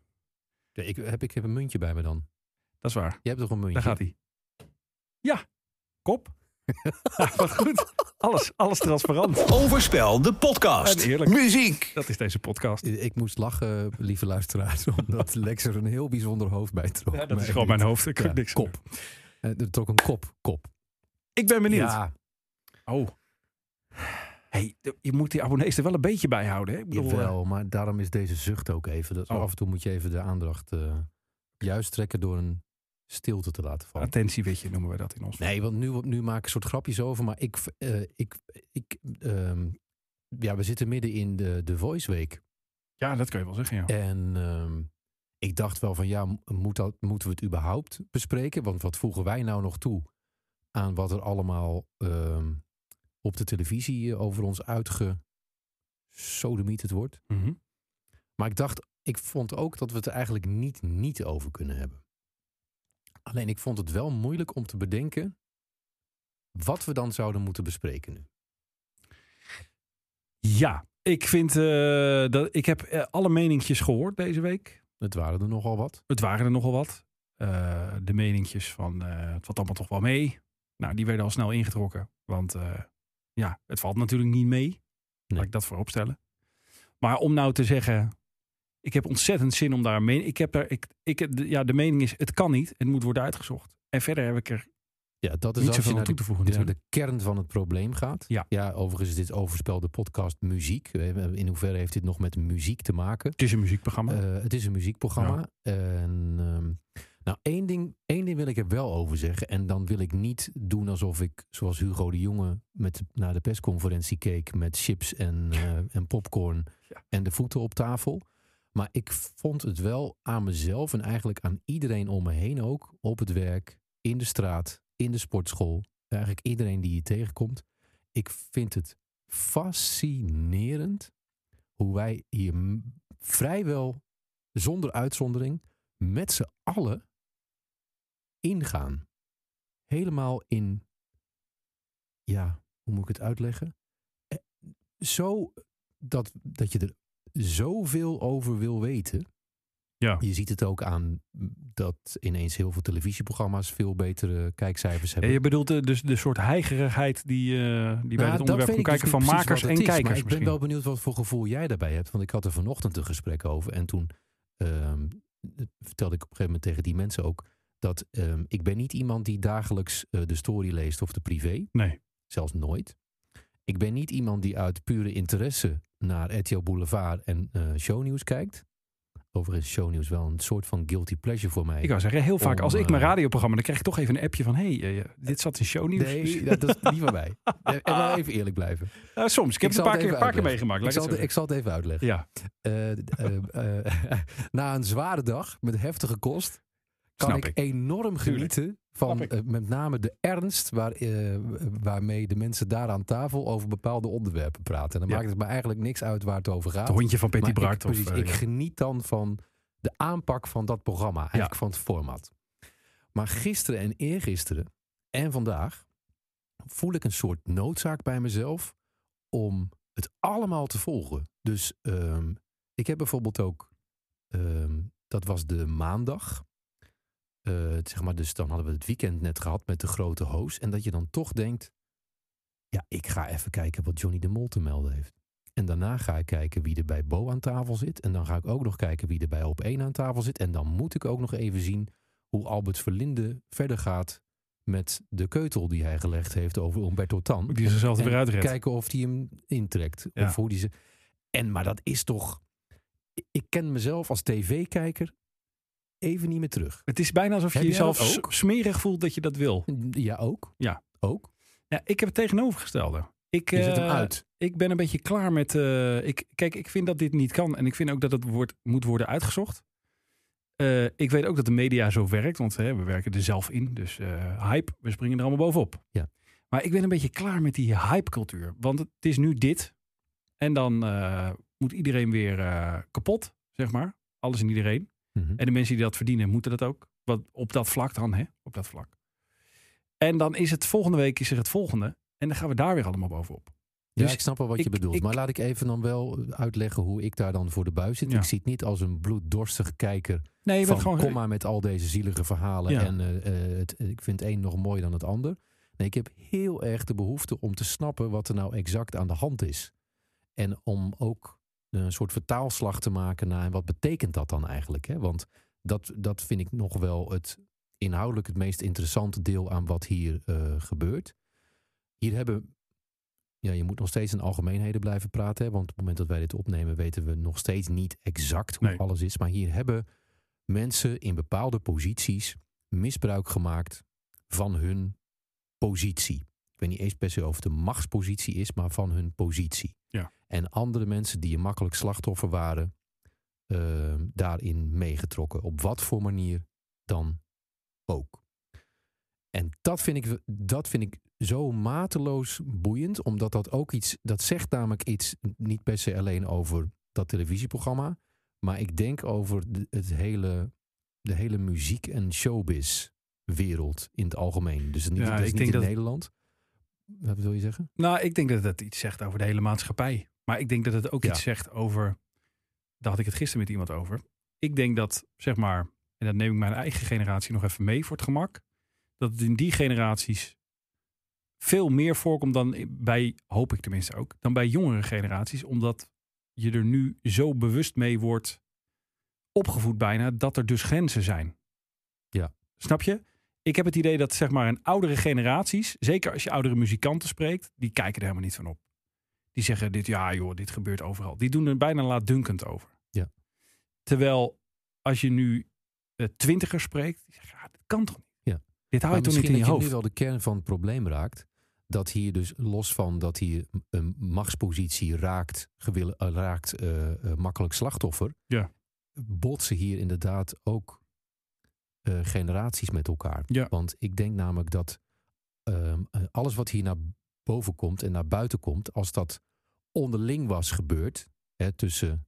[SPEAKER 4] Nee, ik, heb, ik heb een muntje bij me dan.
[SPEAKER 3] Dat is waar.
[SPEAKER 4] Je hebt toch een muntje?
[SPEAKER 3] Daar gaat hij. Ja, kop. Wat goed. Alles, alles transparant.
[SPEAKER 1] Overspel, de
[SPEAKER 3] En
[SPEAKER 1] podcast.
[SPEAKER 3] eerlijk.
[SPEAKER 2] Muziek!
[SPEAKER 3] Dat is deze podcast.
[SPEAKER 4] Ik moest lachen, lieve luisteraars, omdat Lex er een heel bijzonder hoofd bij trok.
[SPEAKER 3] Ja, dat is
[SPEAKER 4] Maar
[SPEAKER 3] gewoon
[SPEAKER 4] dit-
[SPEAKER 3] mijn hoofd. Ik kan
[SPEAKER 4] ja,
[SPEAKER 3] niks aan
[SPEAKER 4] kop. Eh, Er trok een kop, kop.
[SPEAKER 3] doen. Ik ben benieuwd.
[SPEAKER 4] Ja,
[SPEAKER 3] Oh. Hey, de- je moet die abonnees er wel een beetje bij houden. Hè? Ik bedoel, eh,
[SPEAKER 4] jawel, maar daarom is deze zucht ook even. Dat
[SPEAKER 3] Oh.
[SPEAKER 4] Af en toe moet je even de aandacht eh, juist trekken door een stilte te laten vallen.
[SPEAKER 3] attentiewitje eh, noemen we dat in ons.
[SPEAKER 4] Nee, want nu, nu maak ik een soort grapjes over, maar ik... eh, ik, ik ehm, ja, we zitten midden in de, de Voice Week.
[SPEAKER 3] Ja, dat kun je wel zeggen. Ja.
[SPEAKER 4] En ehm, ik dacht wel van ja, m- moet dat, moeten we het überhaupt bespreken? Want wat voegen wij nou nog toe aan wat er allemaal ehm, op de televisie eh, over ons uitgesodemieterd wordt?
[SPEAKER 3] Mhm.
[SPEAKER 4] Maar ik dacht, ik vond ook dat we het er eigenlijk niet niet over kunnen hebben. Alleen ik vond het wel moeilijk om te bedenken wat we dan zouden moeten bespreken nu.
[SPEAKER 3] Ja, ik vind eh, dat ik heb eh, alle meninkjes gehoord deze week.
[SPEAKER 4] Het waren er nogal wat.
[SPEAKER 3] Het waren er nogal wat. Eh, de meninkjes van eh, het valt allemaal toch wel mee. Nou, die werden al snel ingetrokken. Want eh, ja, het valt natuurlijk niet mee. Laat ik dat voorop stellen. Maar om nou te zeggen, ik heb ontzettend zin om daar een mening. Ik heb daar, ik, ik, de- ja, de mening is, het kan niet. Het moet worden uitgezocht. En verder heb ik er
[SPEAKER 4] Ja, dat is
[SPEAKER 3] niet
[SPEAKER 4] als je
[SPEAKER 3] zoveel aan
[SPEAKER 4] naar de
[SPEAKER 3] toe te voegen.
[SPEAKER 4] Dus naar
[SPEAKER 3] natuurlijk.
[SPEAKER 4] de kern van het probleem gaat.
[SPEAKER 3] Ja.
[SPEAKER 4] overigens is dit overspel de podcast muziek. In hoeverre heeft dit nog met muziek te maken?
[SPEAKER 3] Het is een muziekprogramma.
[SPEAKER 4] Eh, het is een muziekprogramma. En, ehm, nou, één ding, één ding wil ik er wel over zeggen. En dan wil ik niet doen alsof ik, zoals Hugo de Jonge, met, naar de persconferentie keek met chips en, eh, en popcorn
[SPEAKER 3] Ja.
[SPEAKER 4] en de voeten op tafel. Maar ik vond het wel aan mezelf en eigenlijk aan iedereen om me heen ook, op het werk, in de straat, in de sportschool, eigenlijk iedereen die je tegenkomt. Ik vind het fascinerend hoe wij hier m- vrijwel zonder uitzondering met z'n allen ingaan. Helemaal in, ja, hoe moet ik het uitleggen? Eh, Zo dat, dat je er zoveel over wil weten.
[SPEAKER 3] Ja.
[SPEAKER 4] Je ziet het ook aan dat ineens heel veel televisieprogramma's veel betere kijkcijfers
[SPEAKER 3] Ja,
[SPEAKER 4] hebben.
[SPEAKER 3] je bedoelt eh, dus de soort heigerigheid die, eh, die bij
[SPEAKER 4] Nou,
[SPEAKER 3] het
[SPEAKER 4] dat
[SPEAKER 3] onderwerp
[SPEAKER 4] weet
[SPEAKER 3] van
[SPEAKER 4] ik dus
[SPEAKER 3] kijken
[SPEAKER 4] niet
[SPEAKER 3] van
[SPEAKER 4] precies
[SPEAKER 3] makers
[SPEAKER 4] wat
[SPEAKER 3] en
[SPEAKER 4] het is,
[SPEAKER 3] kijkers
[SPEAKER 4] Maar ik ben
[SPEAKER 3] misschien.
[SPEAKER 4] wel benieuwd wat voor gevoel jij daarbij hebt. Want ik had er vanochtend een gesprek over. En toen ehm, dat vertelde ik op een gegeven moment tegen die mensen ook... dat ehm, ik ben niet iemand die dagelijks eh, de story leest of de privé.
[SPEAKER 3] Nee.
[SPEAKER 4] Zelfs nooit. Ik ben niet iemand die uit pure interesse naar RTL Boulevard en eh, shownieuws kijkt. Overigens is shownieuws wel een soort van guilty pleasure voor mij.
[SPEAKER 3] Ik wou zeggen, heel vaak
[SPEAKER 4] Om,
[SPEAKER 3] als ik
[SPEAKER 4] eh,
[SPEAKER 3] mijn radioprogramma, dan krijg ik toch even een appje van, hé, hey, eh, dit zat in shownieuws. Dus
[SPEAKER 4] nee, dat, dat is niet van mij. Eh, En wel even eerlijk blijven.
[SPEAKER 3] Nou, soms, ik
[SPEAKER 4] Ik
[SPEAKER 3] heb het
[SPEAKER 4] zal
[SPEAKER 3] een paar
[SPEAKER 4] het
[SPEAKER 3] keer,
[SPEAKER 4] even
[SPEAKER 3] paar keer
[SPEAKER 4] uitleggen.
[SPEAKER 3] meegemaakt.
[SPEAKER 4] Ik
[SPEAKER 3] laat
[SPEAKER 4] zal,
[SPEAKER 3] ik
[SPEAKER 4] het-
[SPEAKER 3] het
[SPEAKER 4] ik zal het even uitleggen.
[SPEAKER 3] zo zeggen.
[SPEAKER 4] Eh, d- eh, eh, na een zware dag met heftige kost kan
[SPEAKER 3] Snap
[SPEAKER 4] ik,
[SPEAKER 3] ik.
[SPEAKER 4] enorm
[SPEAKER 3] Tuurlijk.
[SPEAKER 4] genieten van
[SPEAKER 3] Snap ik.
[SPEAKER 4] eh, met name de ernst waar, eh, waarmee de mensen daar aan tafel over bepaalde onderwerpen praten. En dan
[SPEAKER 3] Ja.
[SPEAKER 4] maakt het me eigenlijk niks uit waar het over
[SPEAKER 3] Ja,
[SPEAKER 4] gaat.
[SPEAKER 3] het hondje van Petty
[SPEAKER 4] Maar ik-
[SPEAKER 3] Bart. of,
[SPEAKER 4] precies,
[SPEAKER 3] eh,
[SPEAKER 4] ik
[SPEAKER 3] ja.
[SPEAKER 4] geniet dan van de aanpak van dat programma, eigenlijk van het format. Maar gisteren en eergisteren en vandaag voel ik een soort noodzaak bij mezelf om het allemaal te volgen. Dus ehm, ik heb bijvoorbeeld ook, ehm, dat was de maandag. Eh, het- zeg maar, dus dan hadden we het weekend net gehad met de grote hoos. En dat je dan toch denkt, ja, ik ga even kijken wat Johnny de Mol te melden heeft. En daarna ga ik kijken wie er bij Bo aan tafel zit. En dan ga ik ook nog kijken wie er bij Op 1 aan tafel zit. En dan moet ik ook nog even zien hoe Albert Verlinde verder gaat met de keutel die hij gelegd heeft over Umberto Tan.
[SPEAKER 3] Die zichzelf er
[SPEAKER 4] En
[SPEAKER 3] weer uitredt.
[SPEAKER 4] Kijken of hij hem intrekt.
[SPEAKER 3] Ja.
[SPEAKER 4] Of hoe die ze... En maar dat is toch... Ik ken mezelf als tv-kijker even niet meer terug.
[SPEAKER 3] Het is bijna alsof je
[SPEAKER 4] Heb jij
[SPEAKER 3] jezelf
[SPEAKER 4] dat
[SPEAKER 3] s-
[SPEAKER 4] ook?
[SPEAKER 3] smerig voelt dat je dat wil.
[SPEAKER 4] Ja, ook.
[SPEAKER 3] Ja.
[SPEAKER 4] Ook.
[SPEAKER 3] Ja, ik heb het tegenovergestelde. Ik,
[SPEAKER 4] Je zet hem
[SPEAKER 3] eh,
[SPEAKER 4] uit.
[SPEAKER 3] ik ben een beetje klaar met. eh, ik, kijk, ik vind dat dit niet kan. En ik vind ook dat het wordt, moet worden uitgezocht. Eh, ik weet ook dat de media zo werkt, want hè, we werken er zelf in. Dus eh, hype, we springen er allemaal bovenop.
[SPEAKER 4] Ja.
[SPEAKER 3] Maar ik ben een beetje klaar met die hypecultuur. Want het is nu dit. En dan eh, moet iedereen weer eh, kapot, zeg maar. Alles en iedereen.
[SPEAKER 4] Mhm.
[SPEAKER 3] En de mensen die dat verdienen, moeten dat ook. Wat, op dat vlak dan, hè? Op dat vlak. En dan is het volgende week is er het volgende. En dan gaan we daar weer allemaal bovenop.
[SPEAKER 4] Ja,
[SPEAKER 3] dus
[SPEAKER 4] ik snap wel wat
[SPEAKER 3] ik-
[SPEAKER 4] je bedoelt.
[SPEAKER 3] ik-
[SPEAKER 4] maar laat ik even dan wel uitleggen hoe ik daar dan voor de buis zit.
[SPEAKER 3] Ja.
[SPEAKER 4] Ik zie het niet als een bloeddorstige kijker
[SPEAKER 3] Nee, je bent
[SPEAKER 4] van
[SPEAKER 3] gewoon...
[SPEAKER 4] kom maar met al deze zielige verhalen.
[SPEAKER 3] Ja.
[SPEAKER 4] En eh, eh, het, ik vind het een nog mooier dan het ander. Nee, ik heb heel erg de behoefte om te snappen wat er nou exact aan de hand is. En om ook een soort vertaalslag te maken naar en wat betekent dat dan eigenlijk? Hè? Want dat, dat vind ik nog wel het inhoudelijk het meest interessante deel aan wat hier eh, gebeurt. Hier hebben. Ja, je moet nog steeds in algemeenheden blijven praten. Hè? Want op het moment dat wij dit opnemen, weten we nog steeds niet exact hoe
[SPEAKER 3] Nee.
[SPEAKER 4] alles is. Maar hier hebben mensen in bepaalde posities misbruik gemaakt van hun positie. Ik weet niet eens per se of het een machtspositie is, maar van hun positie.
[SPEAKER 3] Ja.
[SPEAKER 4] En andere mensen die een makkelijk slachtoffer waren, eh, daarin meegetrokken. Op wat voor manier dan ook. En dat vind ik, dat vind ik zo mateloos boeiend, omdat dat ook iets, dat zegt namelijk iets niet per se alleen over dat televisieprogramma, maar ik denk over de- het hele, de hele muziek- en showbiz-wereld in het algemeen. Dus niet,
[SPEAKER 3] Ja,
[SPEAKER 4] dat is
[SPEAKER 3] ik
[SPEAKER 4] niet
[SPEAKER 3] denk
[SPEAKER 4] in
[SPEAKER 3] dat-
[SPEAKER 4] Nederland. Wat wil je zeggen?
[SPEAKER 3] Nou, ik denk dat het iets zegt over de hele maatschappij. Maar ik denk dat het ook
[SPEAKER 4] Ja.
[SPEAKER 3] iets zegt over. Daar had ik het gisteren met iemand over. Ik denk dat, zeg maar, en dat neem ik mijn eigen generatie nog even mee voor het gemak. Dat het in die generaties veel meer voorkomt dan i- bij, hoop ik tenminste ook, dan bij jongere generaties. Omdat je er nu zo bewust mee wordt opgevoed bijna, dat er dus grenzen zijn.
[SPEAKER 4] Ja.
[SPEAKER 3] Snap je? ik heb het idee dat zeg maar een oudere generaties, zeker als je oudere muzikanten spreekt, die kijken er helemaal niet van op. Die zeggen dit, ja joh, dit gebeurt overal. Die doen er bijna laatdunkend over.
[SPEAKER 4] Ja.
[SPEAKER 3] Terwijl als je nu eh, twintigers spreekt, die zeggen, ja, dat kan toch niet.
[SPEAKER 4] Ja.
[SPEAKER 3] Dit hou je
[SPEAKER 4] Maar
[SPEAKER 3] toch niet in
[SPEAKER 4] misschien
[SPEAKER 3] je
[SPEAKER 4] dat nu
[SPEAKER 3] hoofd.
[SPEAKER 4] wel de kern van het probleem raakt. Dat hier dus los van dat hier een machtspositie raakt, gewille- eh, raakt eh, eh, makkelijk slachtoffer.
[SPEAKER 3] Ja.
[SPEAKER 4] Botsen hier inderdaad ook eh, generaties met elkaar.
[SPEAKER 3] Ja.
[SPEAKER 4] Want ik denk namelijk dat ehm, eh, alles wat hier naar boven komt en naar buiten komt, als dat onderling was gebeurd, hè, tussen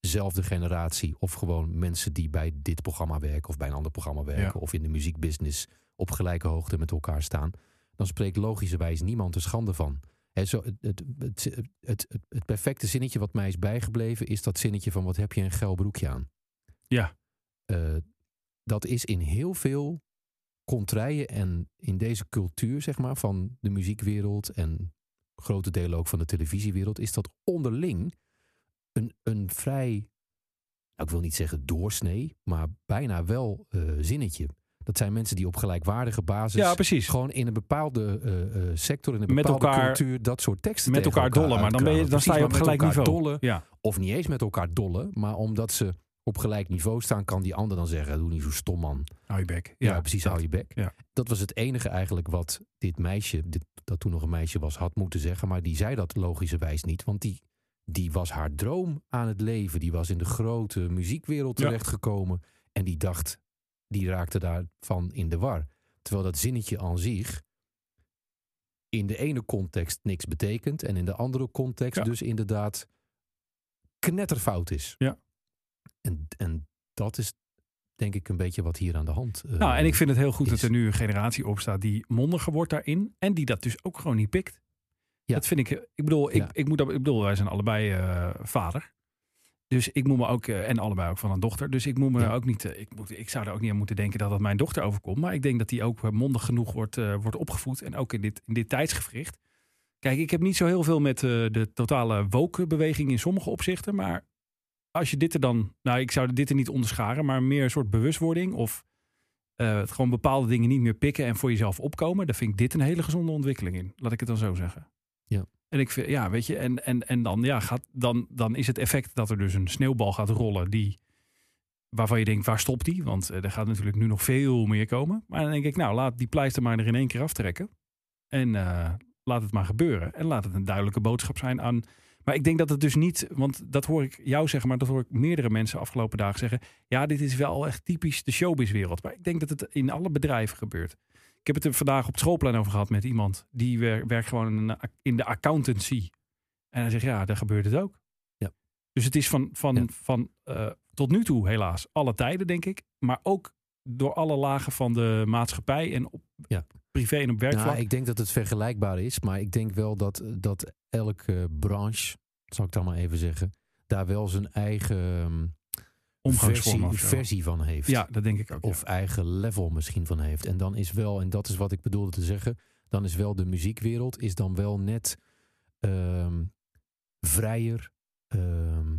[SPEAKER 4] zelfde generatie of gewoon mensen die bij dit programma werken of bij een ander programma werken of in de muziekbusiness op gelijke hoogte met elkaar staan, dan spreekt logischerwijs niemand er schande van. Hè, zo, het, het, het, het, het- het perfecte zinnetje wat mij is bijgebleven is dat zinnetje van wat heb je een geil broekje aan?
[SPEAKER 3] Ja.
[SPEAKER 4] Eh, dat is in heel veel contraien en in deze cultuur zeg maar, van de muziekwereld en grote delen ook van de televisiewereld, is dat onderling een, een vrij, nou, ik wil niet zeggen doorsnee, maar bijna wel eh, zinnetje. Dat zijn mensen die op gelijkwaardige basis
[SPEAKER 3] ja, precies.
[SPEAKER 4] gewoon in een bepaalde eh, eh, sector, in een
[SPEAKER 3] Met
[SPEAKER 4] bepaalde
[SPEAKER 3] elkaar-
[SPEAKER 4] cultuur, dat soort teksten
[SPEAKER 3] Met
[SPEAKER 4] tegen
[SPEAKER 3] elkaar dollen, maar dan, ben je,
[SPEAKER 4] uitkramen.
[SPEAKER 3] dan sta je op
[SPEAKER 4] Precies, maar
[SPEAKER 3] gelijk
[SPEAKER 4] met elkaar
[SPEAKER 3] niveau.
[SPEAKER 4] dollen,
[SPEAKER 3] Ja,
[SPEAKER 4] of niet eens met elkaar dollen, maar omdat ze op gelijk niveau staan, kan die ander dan zeggen, doe niet zo stom man.
[SPEAKER 3] hou je bek.
[SPEAKER 4] Ja, precies, hou je bek.
[SPEAKER 3] Ja.
[SPEAKER 4] Dat was het enige eigenlijk wat dit meisje, dit, dat toen nog een meisje was, had moeten zeggen. Maar die zei dat logischerwijs niet, want die, die was haar droom aan het leven. Die was in de grote muziekwereld
[SPEAKER 3] Ja.
[SPEAKER 4] terechtgekomen. En die dacht, die raakte daarvan in de war. Terwijl dat zinnetje aan zich in de ene context niks betekent. En in de andere context
[SPEAKER 3] Ja.
[SPEAKER 4] dus inderdaad knetterfout is.
[SPEAKER 3] Ja.
[SPEAKER 4] En, en dat is denk ik een beetje wat hier aan de hand eh,
[SPEAKER 3] Nou, en ik vind het heel goed dat
[SPEAKER 4] is-
[SPEAKER 3] er nu een generatie opstaat die mondiger wordt daarin. En die dat dus ook gewoon niet pikt.
[SPEAKER 4] Ja.
[SPEAKER 3] Dat vind ik, eh, ik bedoel, ik,
[SPEAKER 4] Ja.
[SPEAKER 3] ik, moet, dat- ik bedoel, wij zijn allebei eh, vader. Dus ik moet me ook, eh, en allebei ook van een dochter. Dus ik moet me
[SPEAKER 4] Ja.
[SPEAKER 3] ook niet, eh, ik, moet, ik zou er ook niet aan moeten denken dat dat mijn dochter overkomt. Maar ik denk dat die ook eh, mondig genoeg wordt, eh, wordt opgevoed. En ook in dit, in dit tijdsgevricht. Kijk, ik heb niet zo heel veel met eh, de totale woke beweging in sommige opzichten. Maar als je dit er dan, nou ik zou dit er niet onderscharen. Maar meer een soort bewustwording of eh, het gewoon bepaalde dingen niet meer pikken en voor jezelf opkomen. Daar vind ik dit een hele gezonde ontwikkeling in. Laat ik het dan zo zeggen.
[SPEAKER 4] Ja.
[SPEAKER 3] En ik vind, ja, weet je, en, en, en dan, ja, gaat, dan, dan is het effect dat er dus een sneeuwbal gaat rollen die, waarvan je denkt, waar stopt die? Want eh, er gaat natuurlijk nu nog veel meer komen. Maar dan denk ik, nou, laat die pleister maar er in één keer aftrekken. En eh, laat het maar gebeuren. En laat het een duidelijke boodschap zijn aan... Maar ik denk dat het dus niet, want dat hoor ik jou zeggen, maar dat hoor ik meerdere mensen afgelopen dagen zeggen. Ja, dit is wel echt typisch de showbizwereld. Maar ik denk dat het in alle bedrijven gebeurt. Ik heb het er vandaag op het schoolplein over gehad met iemand. Die wer- werkt gewoon in een ac- in de accountancy. En hij zegt, ja, daar gebeurt het ook.
[SPEAKER 4] Ja.
[SPEAKER 3] Dus het is van, van,
[SPEAKER 4] Ja.
[SPEAKER 3] van eh, tot nu toe helaas alle tijden, denk ik. Maar ook door alle lagen van de maatschappij en op
[SPEAKER 4] Ja.
[SPEAKER 3] privé en op werkvlak.
[SPEAKER 4] Nou, ik denk dat het vergelijkbaar is, maar ik denk wel dat, dat elke branche, zal ik dan maar even zeggen, daar wel zijn eigen ehm,
[SPEAKER 3] Omgangsvormen
[SPEAKER 4] versie,
[SPEAKER 3] of zo.
[SPEAKER 4] versie van heeft.
[SPEAKER 3] Ja, dat denk ik ook. ja.
[SPEAKER 4] Of eigen level misschien van heeft. En dan is wel, en dat is wat ik bedoelde te zeggen, dan is wel de muziekwereld is dan wel net ehm, vrijer, ehm,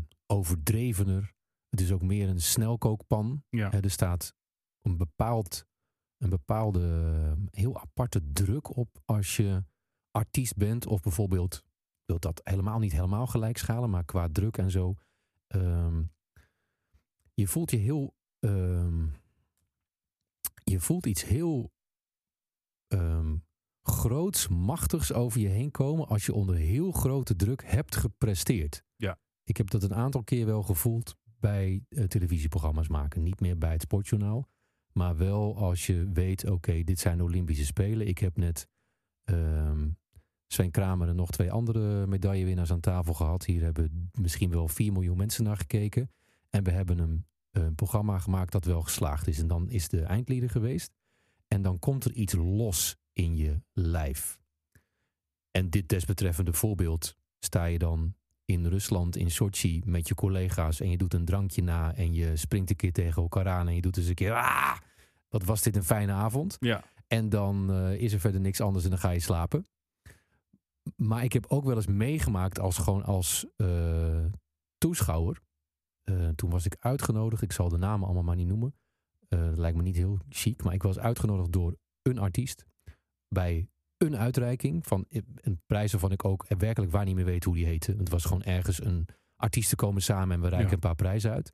[SPEAKER 4] overdrevener. Het is ook meer een snelkookpan.
[SPEAKER 3] Ja.
[SPEAKER 4] Hè, er staat een, bepaald, een bepaalde, ehm, heel aparte druk op als je artiest bent. Of bijvoorbeeld, ik wil dat helemaal niet helemaal gelijk schalen, maar qua druk en zo. ehm, je voelt je heel... ehm, je voelt iets heel ehm, groots, machtigs over je heen komen als je onder heel grote druk hebt gepresteerd.
[SPEAKER 3] Ja.
[SPEAKER 4] Ik heb dat een aantal keer wel gevoeld bij eh, televisieprogramma's maken. Niet meer bij het sportjournaal, maar wel als je weet, oké, dit zijn de Olympische Spelen. Ik heb net ehm, Sven Kramer en nog twee andere medaillewinnaars aan tafel gehad. Hier hebben misschien wel 4 miljoen mensen naar gekeken. En we hebben een, een programma gemaakt dat wel geslaagd is. En dan is de eindlieder geweest. En dan komt er iets los in je lijf. En dit desbetreffende voorbeeld sta je dan in Rusland, in Sochi, met je collega's en je doet een drankje na en je springt een keer tegen elkaar aan en je doet eens een keer, ah, wat was dit een fijne avond.
[SPEAKER 3] Ja.
[SPEAKER 4] En dan eh, is er verder niks anders en dan ga je slapen. Maar ik heb ook wel eens meegemaakt als gewoon als eh, toeschouwer. Eh, toen was ik uitgenodigd, ik zal de namen allemaal maar niet noemen. Eh, dat lijkt me niet heel chic, maar ik was uitgenodigd door een artiest bij een uitreiking van een prijs waarvan ik ook werkelijk waar niet meer weet hoe die heette. Het was gewoon ergens een artiesten komen samen en we reiken
[SPEAKER 3] Ja.
[SPEAKER 4] een paar prijzen uit.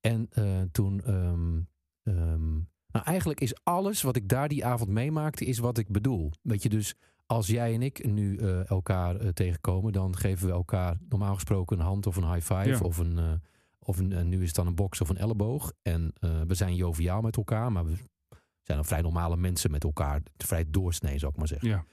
[SPEAKER 4] En eh, toen, ehm, ehm, nou eigenlijk is alles wat ik daar die avond meemaakte, is wat ik bedoel. Weet je, dus als jij en ik nu eh, elkaar eh, tegenkomen, dan geven we elkaar normaal gesproken een hand of een high five
[SPEAKER 3] Ja.
[SPEAKER 4] of een... eh, of een, en nu is het dan een box of een elleboog. En eh, we zijn joviaal met elkaar, maar we zijn dan vrij normale mensen met elkaar. Vrij doorsnee, zou ik maar zeggen.
[SPEAKER 3] Ja.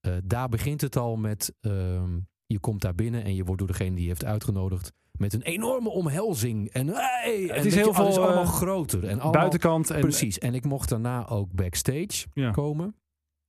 [SPEAKER 4] Eh, daar begint het al met, ehm, je komt daar binnen en je wordt door degene die je heeft uitgenodigd met een enorme omhelzing. En, hey, en
[SPEAKER 3] is
[SPEAKER 4] weet je,
[SPEAKER 3] heel
[SPEAKER 4] alles
[SPEAKER 3] veel,
[SPEAKER 4] allemaal
[SPEAKER 3] eh,
[SPEAKER 4] groter. En allemaal,
[SPEAKER 3] Buitenkant en
[SPEAKER 4] Precies. En ik mocht daarna ook backstage
[SPEAKER 3] Ja.
[SPEAKER 4] komen.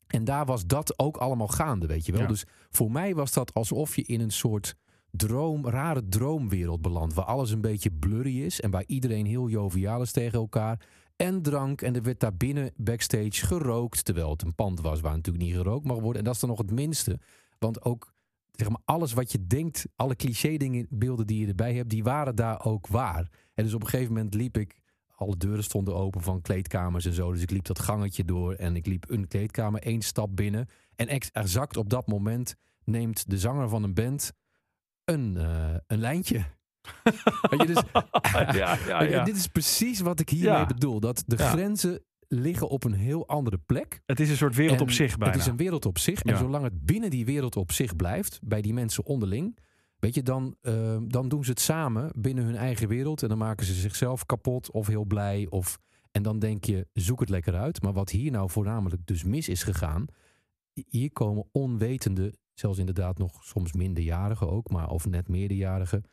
[SPEAKER 4] En daar was dat ook allemaal gaande, weet je wel.
[SPEAKER 3] Ja.
[SPEAKER 4] Dus voor mij was dat alsof je in een soort droom, rare droomwereld belandt. Waar alles een beetje blurry is en waar iedereen heel joviaal is tegen elkaar. En drank. En er werd daar binnen backstage gerookt. Terwijl het een pand was waar natuurlijk niet gerookt mag worden. En dat is dan nog het minste. Want ook zeg maar, alles wat je denkt, alle cliché dingen, beelden die je erbij hebt, die waren daar ook waar. En dus op een gegeven moment liep ik alle deuren stonden open van kleedkamers en zo. Dus ik liep dat gangetje door en ik liep een kleedkamer, één stap binnen. En ex- exact op dat moment neemt de zanger van een band een, eh, een lijntje. Weet je, dus,
[SPEAKER 3] ja, ja, ja,
[SPEAKER 4] weet je, en Dit is precies wat ik hiermee
[SPEAKER 3] Ja.
[SPEAKER 4] bedoel. Dat de
[SPEAKER 3] Ja.
[SPEAKER 4] grenzen liggen op een heel andere plek.
[SPEAKER 3] Het is een soort wereld
[SPEAKER 4] En
[SPEAKER 3] op zich bijna.
[SPEAKER 4] Het is een wereld op zich. En
[SPEAKER 3] Ja.
[SPEAKER 4] zolang het binnen die wereld op zich blijft, bij die mensen onderling, weet je, dan, eh, dan doen ze het samen binnen hun eigen wereld. En dan maken ze zichzelf kapot of heel blij. Of, en dan denk je, zoek het lekker uit. Maar wat hier nou voornamelijk dus mis is gegaan, hier komen onwetende, zelfs inderdaad nog soms minderjarigen ook, maar of net meerderjarigen,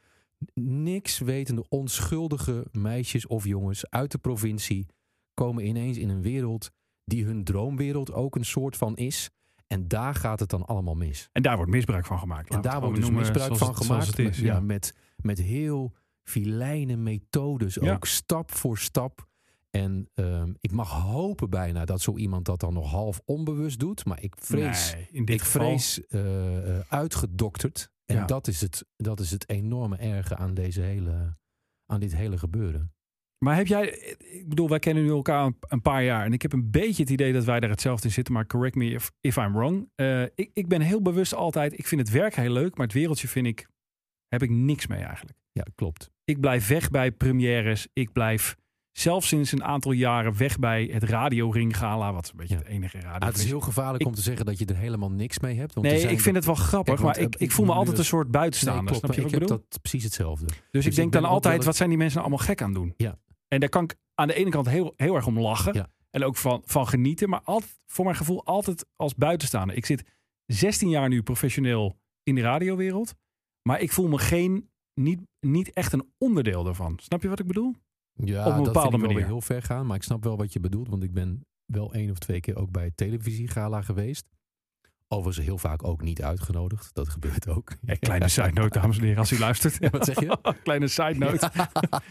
[SPEAKER 4] niks wetende onschuldige meisjes of jongens uit de provincie komen ineens in een wereld die hun droomwereld ook een soort van is. En daar gaat het dan allemaal mis.
[SPEAKER 3] En daar wordt misbruik van gemaakt.
[SPEAKER 4] En
[SPEAKER 3] Laten
[SPEAKER 4] daar
[SPEAKER 3] we het
[SPEAKER 4] wordt dus
[SPEAKER 3] gewoon
[SPEAKER 4] misbruik van
[SPEAKER 3] noemen zoals
[SPEAKER 4] gemaakt.
[SPEAKER 3] het- zoals het is,
[SPEAKER 4] met, ja,
[SPEAKER 3] ja.
[SPEAKER 4] met, met heel filijne methodes,
[SPEAKER 3] Ja.
[SPEAKER 4] ook stap voor stap. En ehm, ik mag hopen bijna dat zo iemand dat dan nog half onbewust doet. Maar ik vrees
[SPEAKER 3] Nee, in dit
[SPEAKER 4] ik vrees eh, eh, uitgedokterd. En
[SPEAKER 3] Ja.
[SPEAKER 4] dat, is het, dat is het enorme erge aan, deze hele, aan dit hele gebeuren.
[SPEAKER 3] Maar heb jij, ik bedoel, wij kennen nu elkaar een- een paar jaar. En ik heb een beetje het idee dat wij daar hetzelfde in zitten. Maar correct me if, if I'm wrong. Eh, ik, ik ben heel bewust altijd, ik vind het werk heel leuk. Maar het wereldje vind ik, heb ik niks mee eigenlijk.
[SPEAKER 4] Ja, klopt.
[SPEAKER 3] Ik blijf weg bij premières. Ik blijf zelfs sinds een aantal jaren weg bij het Radio Ring Gala. Wat een beetje
[SPEAKER 4] Ja.
[SPEAKER 3] het enige radio
[SPEAKER 4] Ah, het is heel gevaarlijk
[SPEAKER 3] Ik-
[SPEAKER 4] om te zeggen dat je er helemaal niks mee hebt. Want er
[SPEAKER 3] Nee,
[SPEAKER 4] zijn
[SPEAKER 3] ik vind het wel grappig.
[SPEAKER 4] Kijk, want,
[SPEAKER 3] maar ik,
[SPEAKER 4] eh,
[SPEAKER 3] ik voel me
[SPEAKER 4] nu
[SPEAKER 3] altijd een
[SPEAKER 4] dat-
[SPEAKER 3] soort
[SPEAKER 4] Nee,
[SPEAKER 3] buitenstaander.
[SPEAKER 4] klopt,
[SPEAKER 3] snap je
[SPEAKER 4] maar
[SPEAKER 3] wat ik
[SPEAKER 4] ik
[SPEAKER 3] bedoel?
[SPEAKER 4] heb dat precies hetzelfde.
[SPEAKER 3] Dus ik
[SPEAKER 4] ik
[SPEAKER 3] denk
[SPEAKER 4] ben
[SPEAKER 3] dan
[SPEAKER 4] ook wel
[SPEAKER 3] altijd,
[SPEAKER 4] een-
[SPEAKER 3] wat zijn die mensen nou allemaal gek aan het doen?
[SPEAKER 4] Ja.
[SPEAKER 3] En daar kan ik aan de ene kant heel, heel erg om lachen.
[SPEAKER 4] Ja.
[SPEAKER 3] En ook van, van genieten. Maar altijd, voor mijn gevoel altijd als buitenstaander. Ik zit 16 jaar nu professioneel in de radiowereld. Maar ik voel me geen, niet, niet echt een onderdeel daarvan. Snap je wat ik bedoel?
[SPEAKER 4] Ja,
[SPEAKER 3] Op een
[SPEAKER 4] dat
[SPEAKER 3] bepaalde
[SPEAKER 4] vind ik wel weer
[SPEAKER 3] manier.
[SPEAKER 4] heel ver gaan. Maar ik snap wel wat je bedoelt. Want ik ben wel één of twee keer ook bij het televisiegala geweest. Overigens heel vaak ook niet uitgenodigd. Dat gebeurt ook.
[SPEAKER 3] Ja, Eh, kleine side note, dames en heren, als u luistert.
[SPEAKER 4] Wat zeg je?
[SPEAKER 3] kleine side note.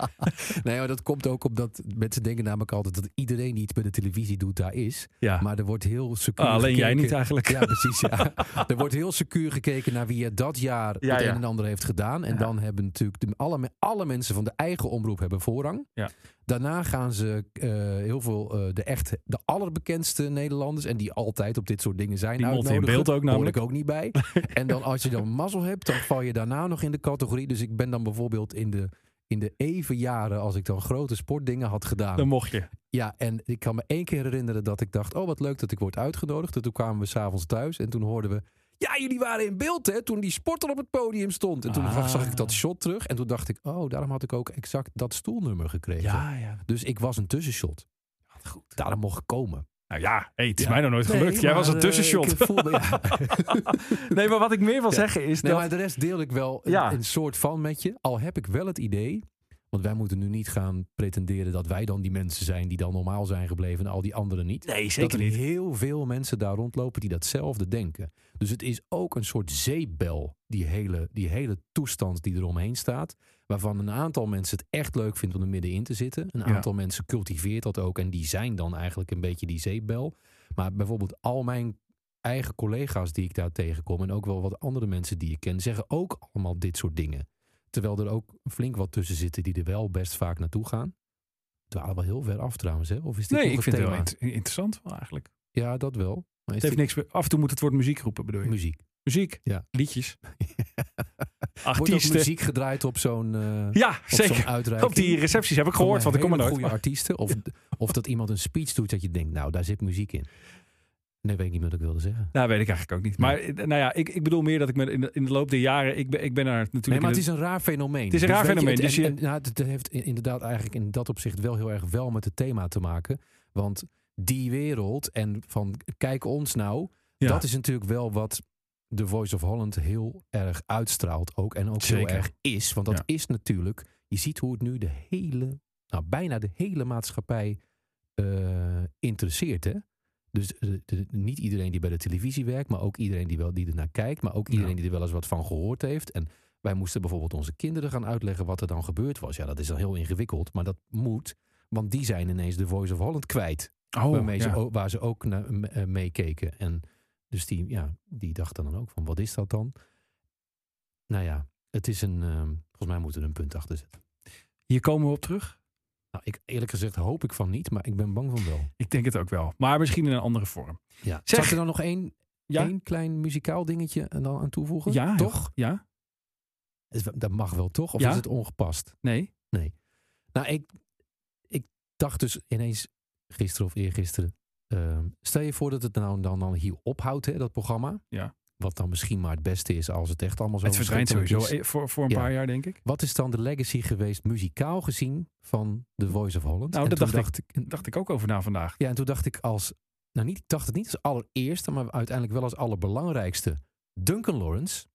[SPEAKER 4] nee, maar dat komt ook omdat mensen denken namelijk altijd dat iedereen die iets bij de televisie doet, daar is.
[SPEAKER 3] Ja.
[SPEAKER 4] Maar er wordt heel secuur
[SPEAKER 3] Ah, alleen jij
[SPEAKER 4] gekeken-
[SPEAKER 3] niet eigenlijk.
[SPEAKER 4] Ja, precies. Ja. er wordt heel secuur gekeken naar wie er dat jaar
[SPEAKER 3] Ja,
[SPEAKER 4] het
[SPEAKER 3] ja.
[SPEAKER 4] een en ander heeft gedaan. En dan hebben natuurlijk de, alle, me- alle mensen van de eigen omroep hebben voorrang.
[SPEAKER 3] Ja.
[SPEAKER 4] Daarna gaan ze eh, heel veel eh, de echt de allerbekendste Nederlanders. En die altijd op dit soort dingen zijn.
[SPEAKER 3] Die monten in
[SPEAKER 4] uitnodigen.
[SPEAKER 3] beeld ook
[SPEAKER 4] Hoor
[SPEAKER 3] namelijk.
[SPEAKER 4] ik ook niet bij. en dan als je dan mazzel hebt, dan val je daarna nog in de categorie. Dus ik ben dan bijvoorbeeld in de, in de even jaren, als ik dan grote sportdingen had gedaan.
[SPEAKER 3] Dan mocht je.
[SPEAKER 4] Ja, en ik kan me één keer herinneren dat ik dacht: oh, wat leuk dat ik word uitgenodigd. En toen kwamen we s'avonds thuis en toen hoorden we. Ja, jullie waren in beeld, hè? Toen die sporter op het podium stond. En toen
[SPEAKER 3] Ah.
[SPEAKER 4] zag ik dat shot terug. En toen dacht ik, oh, daarom had ik ook exact dat stoelnummer gekregen.
[SPEAKER 3] ja.
[SPEAKER 4] Dus ik was een tussenshot.
[SPEAKER 3] Goed.
[SPEAKER 4] Daarom mocht ik komen.
[SPEAKER 3] Nou ja, hey, het is
[SPEAKER 4] Ja.
[SPEAKER 3] mij nog nooit gelukt.
[SPEAKER 4] Nee,
[SPEAKER 3] Jij
[SPEAKER 4] maar,
[SPEAKER 3] was een
[SPEAKER 4] eh,
[SPEAKER 3] tussenshot.
[SPEAKER 4] ik voelde- ja.
[SPEAKER 3] Nee, maar wat ik meer wil zeggen is
[SPEAKER 4] Nee,
[SPEAKER 3] dat...
[SPEAKER 4] maar de rest deel ik wel een,
[SPEAKER 3] Ja.
[SPEAKER 4] een soort van met je. Al heb ik wel het idee, want wij moeten nu niet gaan pretenderen dat wij dan die mensen zijn die dan normaal zijn gebleven en al die anderen niet.
[SPEAKER 3] Nee,
[SPEAKER 4] dat er heel veel mensen daar rondlopen die datzelfde denken. Dus het is ook een soort zeepbel, die hele, die hele toestand die eromheen staat. Waarvan een aantal mensen het echt leuk vindt om er middenin te zitten. Een
[SPEAKER 3] Ja.
[SPEAKER 4] aantal mensen cultiveert dat ook en die zijn dan eigenlijk een beetje die zeepbel. Maar bijvoorbeeld al mijn eigen collega's die ik daar tegenkom en ook wel wat andere mensen die ik ken, zeggen ook allemaal dit soort dingen. Terwijl er ook flink wat tussen zitten die er wel best vaak naartoe gaan. We dwalen wel heel ver af trouwens, hè? Of is dit
[SPEAKER 3] Nee,
[SPEAKER 4] nog
[SPEAKER 3] ik
[SPEAKER 4] een
[SPEAKER 3] vind het wel
[SPEAKER 4] thema?
[SPEAKER 3] int- interessant wel eigenlijk.
[SPEAKER 4] Ja, dat wel. Maar is
[SPEAKER 3] Het heeft niks...
[SPEAKER 4] dit
[SPEAKER 3] meer- Af en toe moet het woord muziek roepen, bedoel je?
[SPEAKER 4] muziek?
[SPEAKER 3] Muziek.
[SPEAKER 4] Ja.
[SPEAKER 3] Liedjes.
[SPEAKER 4] Wordt ook
[SPEAKER 3] Artiesten.
[SPEAKER 4] muziek gedraaid op zo'n eh op
[SPEAKER 3] Ja,
[SPEAKER 4] zo'n
[SPEAKER 3] zeker.
[SPEAKER 4] uitreiking?
[SPEAKER 3] Op die recepties heb ik gehoord,
[SPEAKER 4] Van
[SPEAKER 3] want ik kom er
[SPEAKER 4] hele
[SPEAKER 3] nooit.
[SPEAKER 4] goede artiesten. Of, of dat iemand een speech doet dat je denkt, nou, daar zit muziek in. Nee, weet ik niet wat ik wilde zeggen.
[SPEAKER 3] Nou, weet ik eigenlijk ook niet. Maar eh, nou ja, ik, ik bedoel meer dat ik me in de, in de loop der jaren... Ik ben, ik ben daar natuurlijk...
[SPEAKER 4] Nee, maar
[SPEAKER 3] in
[SPEAKER 4] het
[SPEAKER 3] de-
[SPEAKER 4] is een raar fenomeen.
[SPEAKER 3] Het is een raar
[SPEAKER 4] weet
[SPEAKER 3] fenomeen,
[SPEAKER 4] het-
[SPEAKER 3] dus
[SPEAKER 4] en-
[SPEAKER 3] je-
[SPEAKER 4] en, nou, het, het heeft in- inderdaad eigenlijk in dat opzicht wel heel erg wel met het thema te maken. Want die wereld en van kijk ons nou,
[SPEAKER 3] Ja.
[SPEAKER 4] dat is natuurlijk wel wat de Voice of Holland heel erg uitstraalt ook. En ook
[SPEAKER 3] Zeker.
[SPEAKER 4] heel erg is. Want dat
[SPEAKER 3] Ja.
[SPEAKER 4] is natuurlijk, je ziet hoe het nu de hele, nou bijna de hele maatschappij eh, interesseert. Hè? Dus eh, de- niet iedereen die bij de televisie werkt, maar ook iedereen die, wel, die ernaar kijkt, maar ook iedereen
[SPEAKER 3] Ja.
[SPEAKER 4] die er wel eens wat van gehoord heeft. En wij moesten bijvoorbeeld onze kinderen gaan uitleggen wat er dan gebeurd was. Ja, dat is dan heel ingewikkeld, maar dat moet, want die zijn ineens de Voice of Holland kwijt.
[SPEAKER 3] Oh,
[SPEAKER 4] waarmee
[SPEAKER 3] ja.
[SPEAKER 4] ze, o- waar ze ook naar, m- eh, meekeken. En dus die, ja, die dacht dan ook van, wat is dat dan? Nou ja, het is een, ehm, volgens mij moeten we er een punt achter zetten.
[SPEAKER 3] Hier komen we op terug.
[SPEAKER 4] Nou, ik, eerlijk gezegd hoop ik van niet, maar ik ben bang van wel.
[SPEAKER 3] Ik denk het ook wel. Maar misschien in een andere vorm.
[SPEAKER 4] Ja.
[SPEAKER 3] Zeg-
[SPEAKER 4] Zal ik er dan nog één,
[SPEAKER 3] Ja?
[SPEAKER 4] één klein muzikaal dingetje en dan aan toevoegen?
[SPEAKER 3] Ja,
[SPEAKER 4] Toch?
[SPEAKER 3] Ja?
[SPEAKER 4] Is- Dat mag wel, toch? Of
[SPEAKER 3] Ja.
[SPEAKER 4] is het ongepast?
[SPEAKER 3] Nee?
[SPEAKER 4] Nou, ik, ik dacht dus ineens gisteren of eergisteren. ehm, stel je voor dat het nou dan, dan hier ophoudt, hè, dat programma.
[SPEAKER 3] Ja. Het
[SPEAKER 4] Wat dan misschien maar het beste is als het echt allemaal zo
[SPEAKER 3] Zo verdwijnt
[SPEAKER 4] verschrikkelijk
[SPEAKER 3] sowieso
[SPEAKER 4] is.
[SPEAKER 3] eh, voor, voor een
[SPEAKER 4] Ja.
[SPEAKER 3] paar jaar, denk ik.
[SPEAKER 4] Wat is dan de legacy geweest, muzikaal gezien, van The Voice of Holland?
[SPEAKER 3] Nou,
[SPEAKER 4] En
[SPEAKER 3] dat
[SPEAKER 4] toen
[SPEAKER 3] dacht Dacht ik ook over na vandaag.
[SPEAKER 4] Ja, en toen dacht ik als... Nou, niet, ik dacht het niet als allereerste, maar uiteindelijk wel als allerbelangrijkste. Duncan Lawrence.